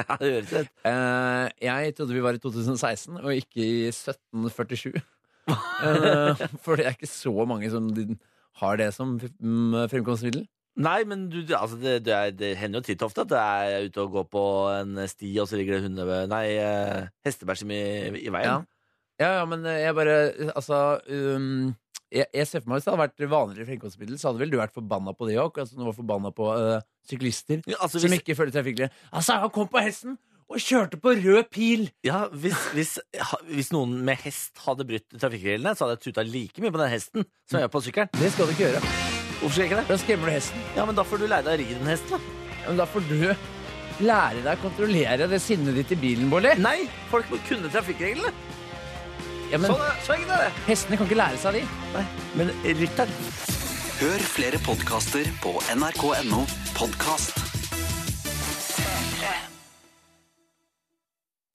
Ja, det høres ut. Eh, jeg trodde vi var i 2016, og ikke i 1747. Eh, for det er ikke så mange som din- har det som f- mm, fremkomstmiddel. Nei, men du, du- altså det, det, er, det hender jo titt ofte at jeg er ute og går på en sti, og så ligger det hunde... Nei, eh, hestebæsj i, i veien. Ja, ja, men eh, jeg bare Altså um, jeg, jeg ser for meg Hvis det hadde vært vanligere fremkomstmiddel, så hadde vel du vært forbanna på det òg. Altså, du var forbanna på eh, syklister Ja, altså som hvis, ikke følger trafikkreglene. Altså, han kom på hesten og kjørte på rød pil! ja, hvis, hvis, ha- hvis noen med hest hadde brutt trafikkreglene, så hadde jeg tuta like mye på den hesten som jeg gjør på sykkelen. Det skal du ikke gjøre. Hvorfor skal jeg ikke det? Da skremmer du hesten. Ja, men da får du lære deg å ri den hesten, da. Ja, Men da får du lære deg å kontrollere det sinnet ditt i bilen, Bolli. Nei, folk må kunne trafikkreglene. Ja, men Sånn er sånn er det. eh, Hestene kan ikke lære seg de. Nei, men lytt her. Hør flere podkaster på nrk.no podkast.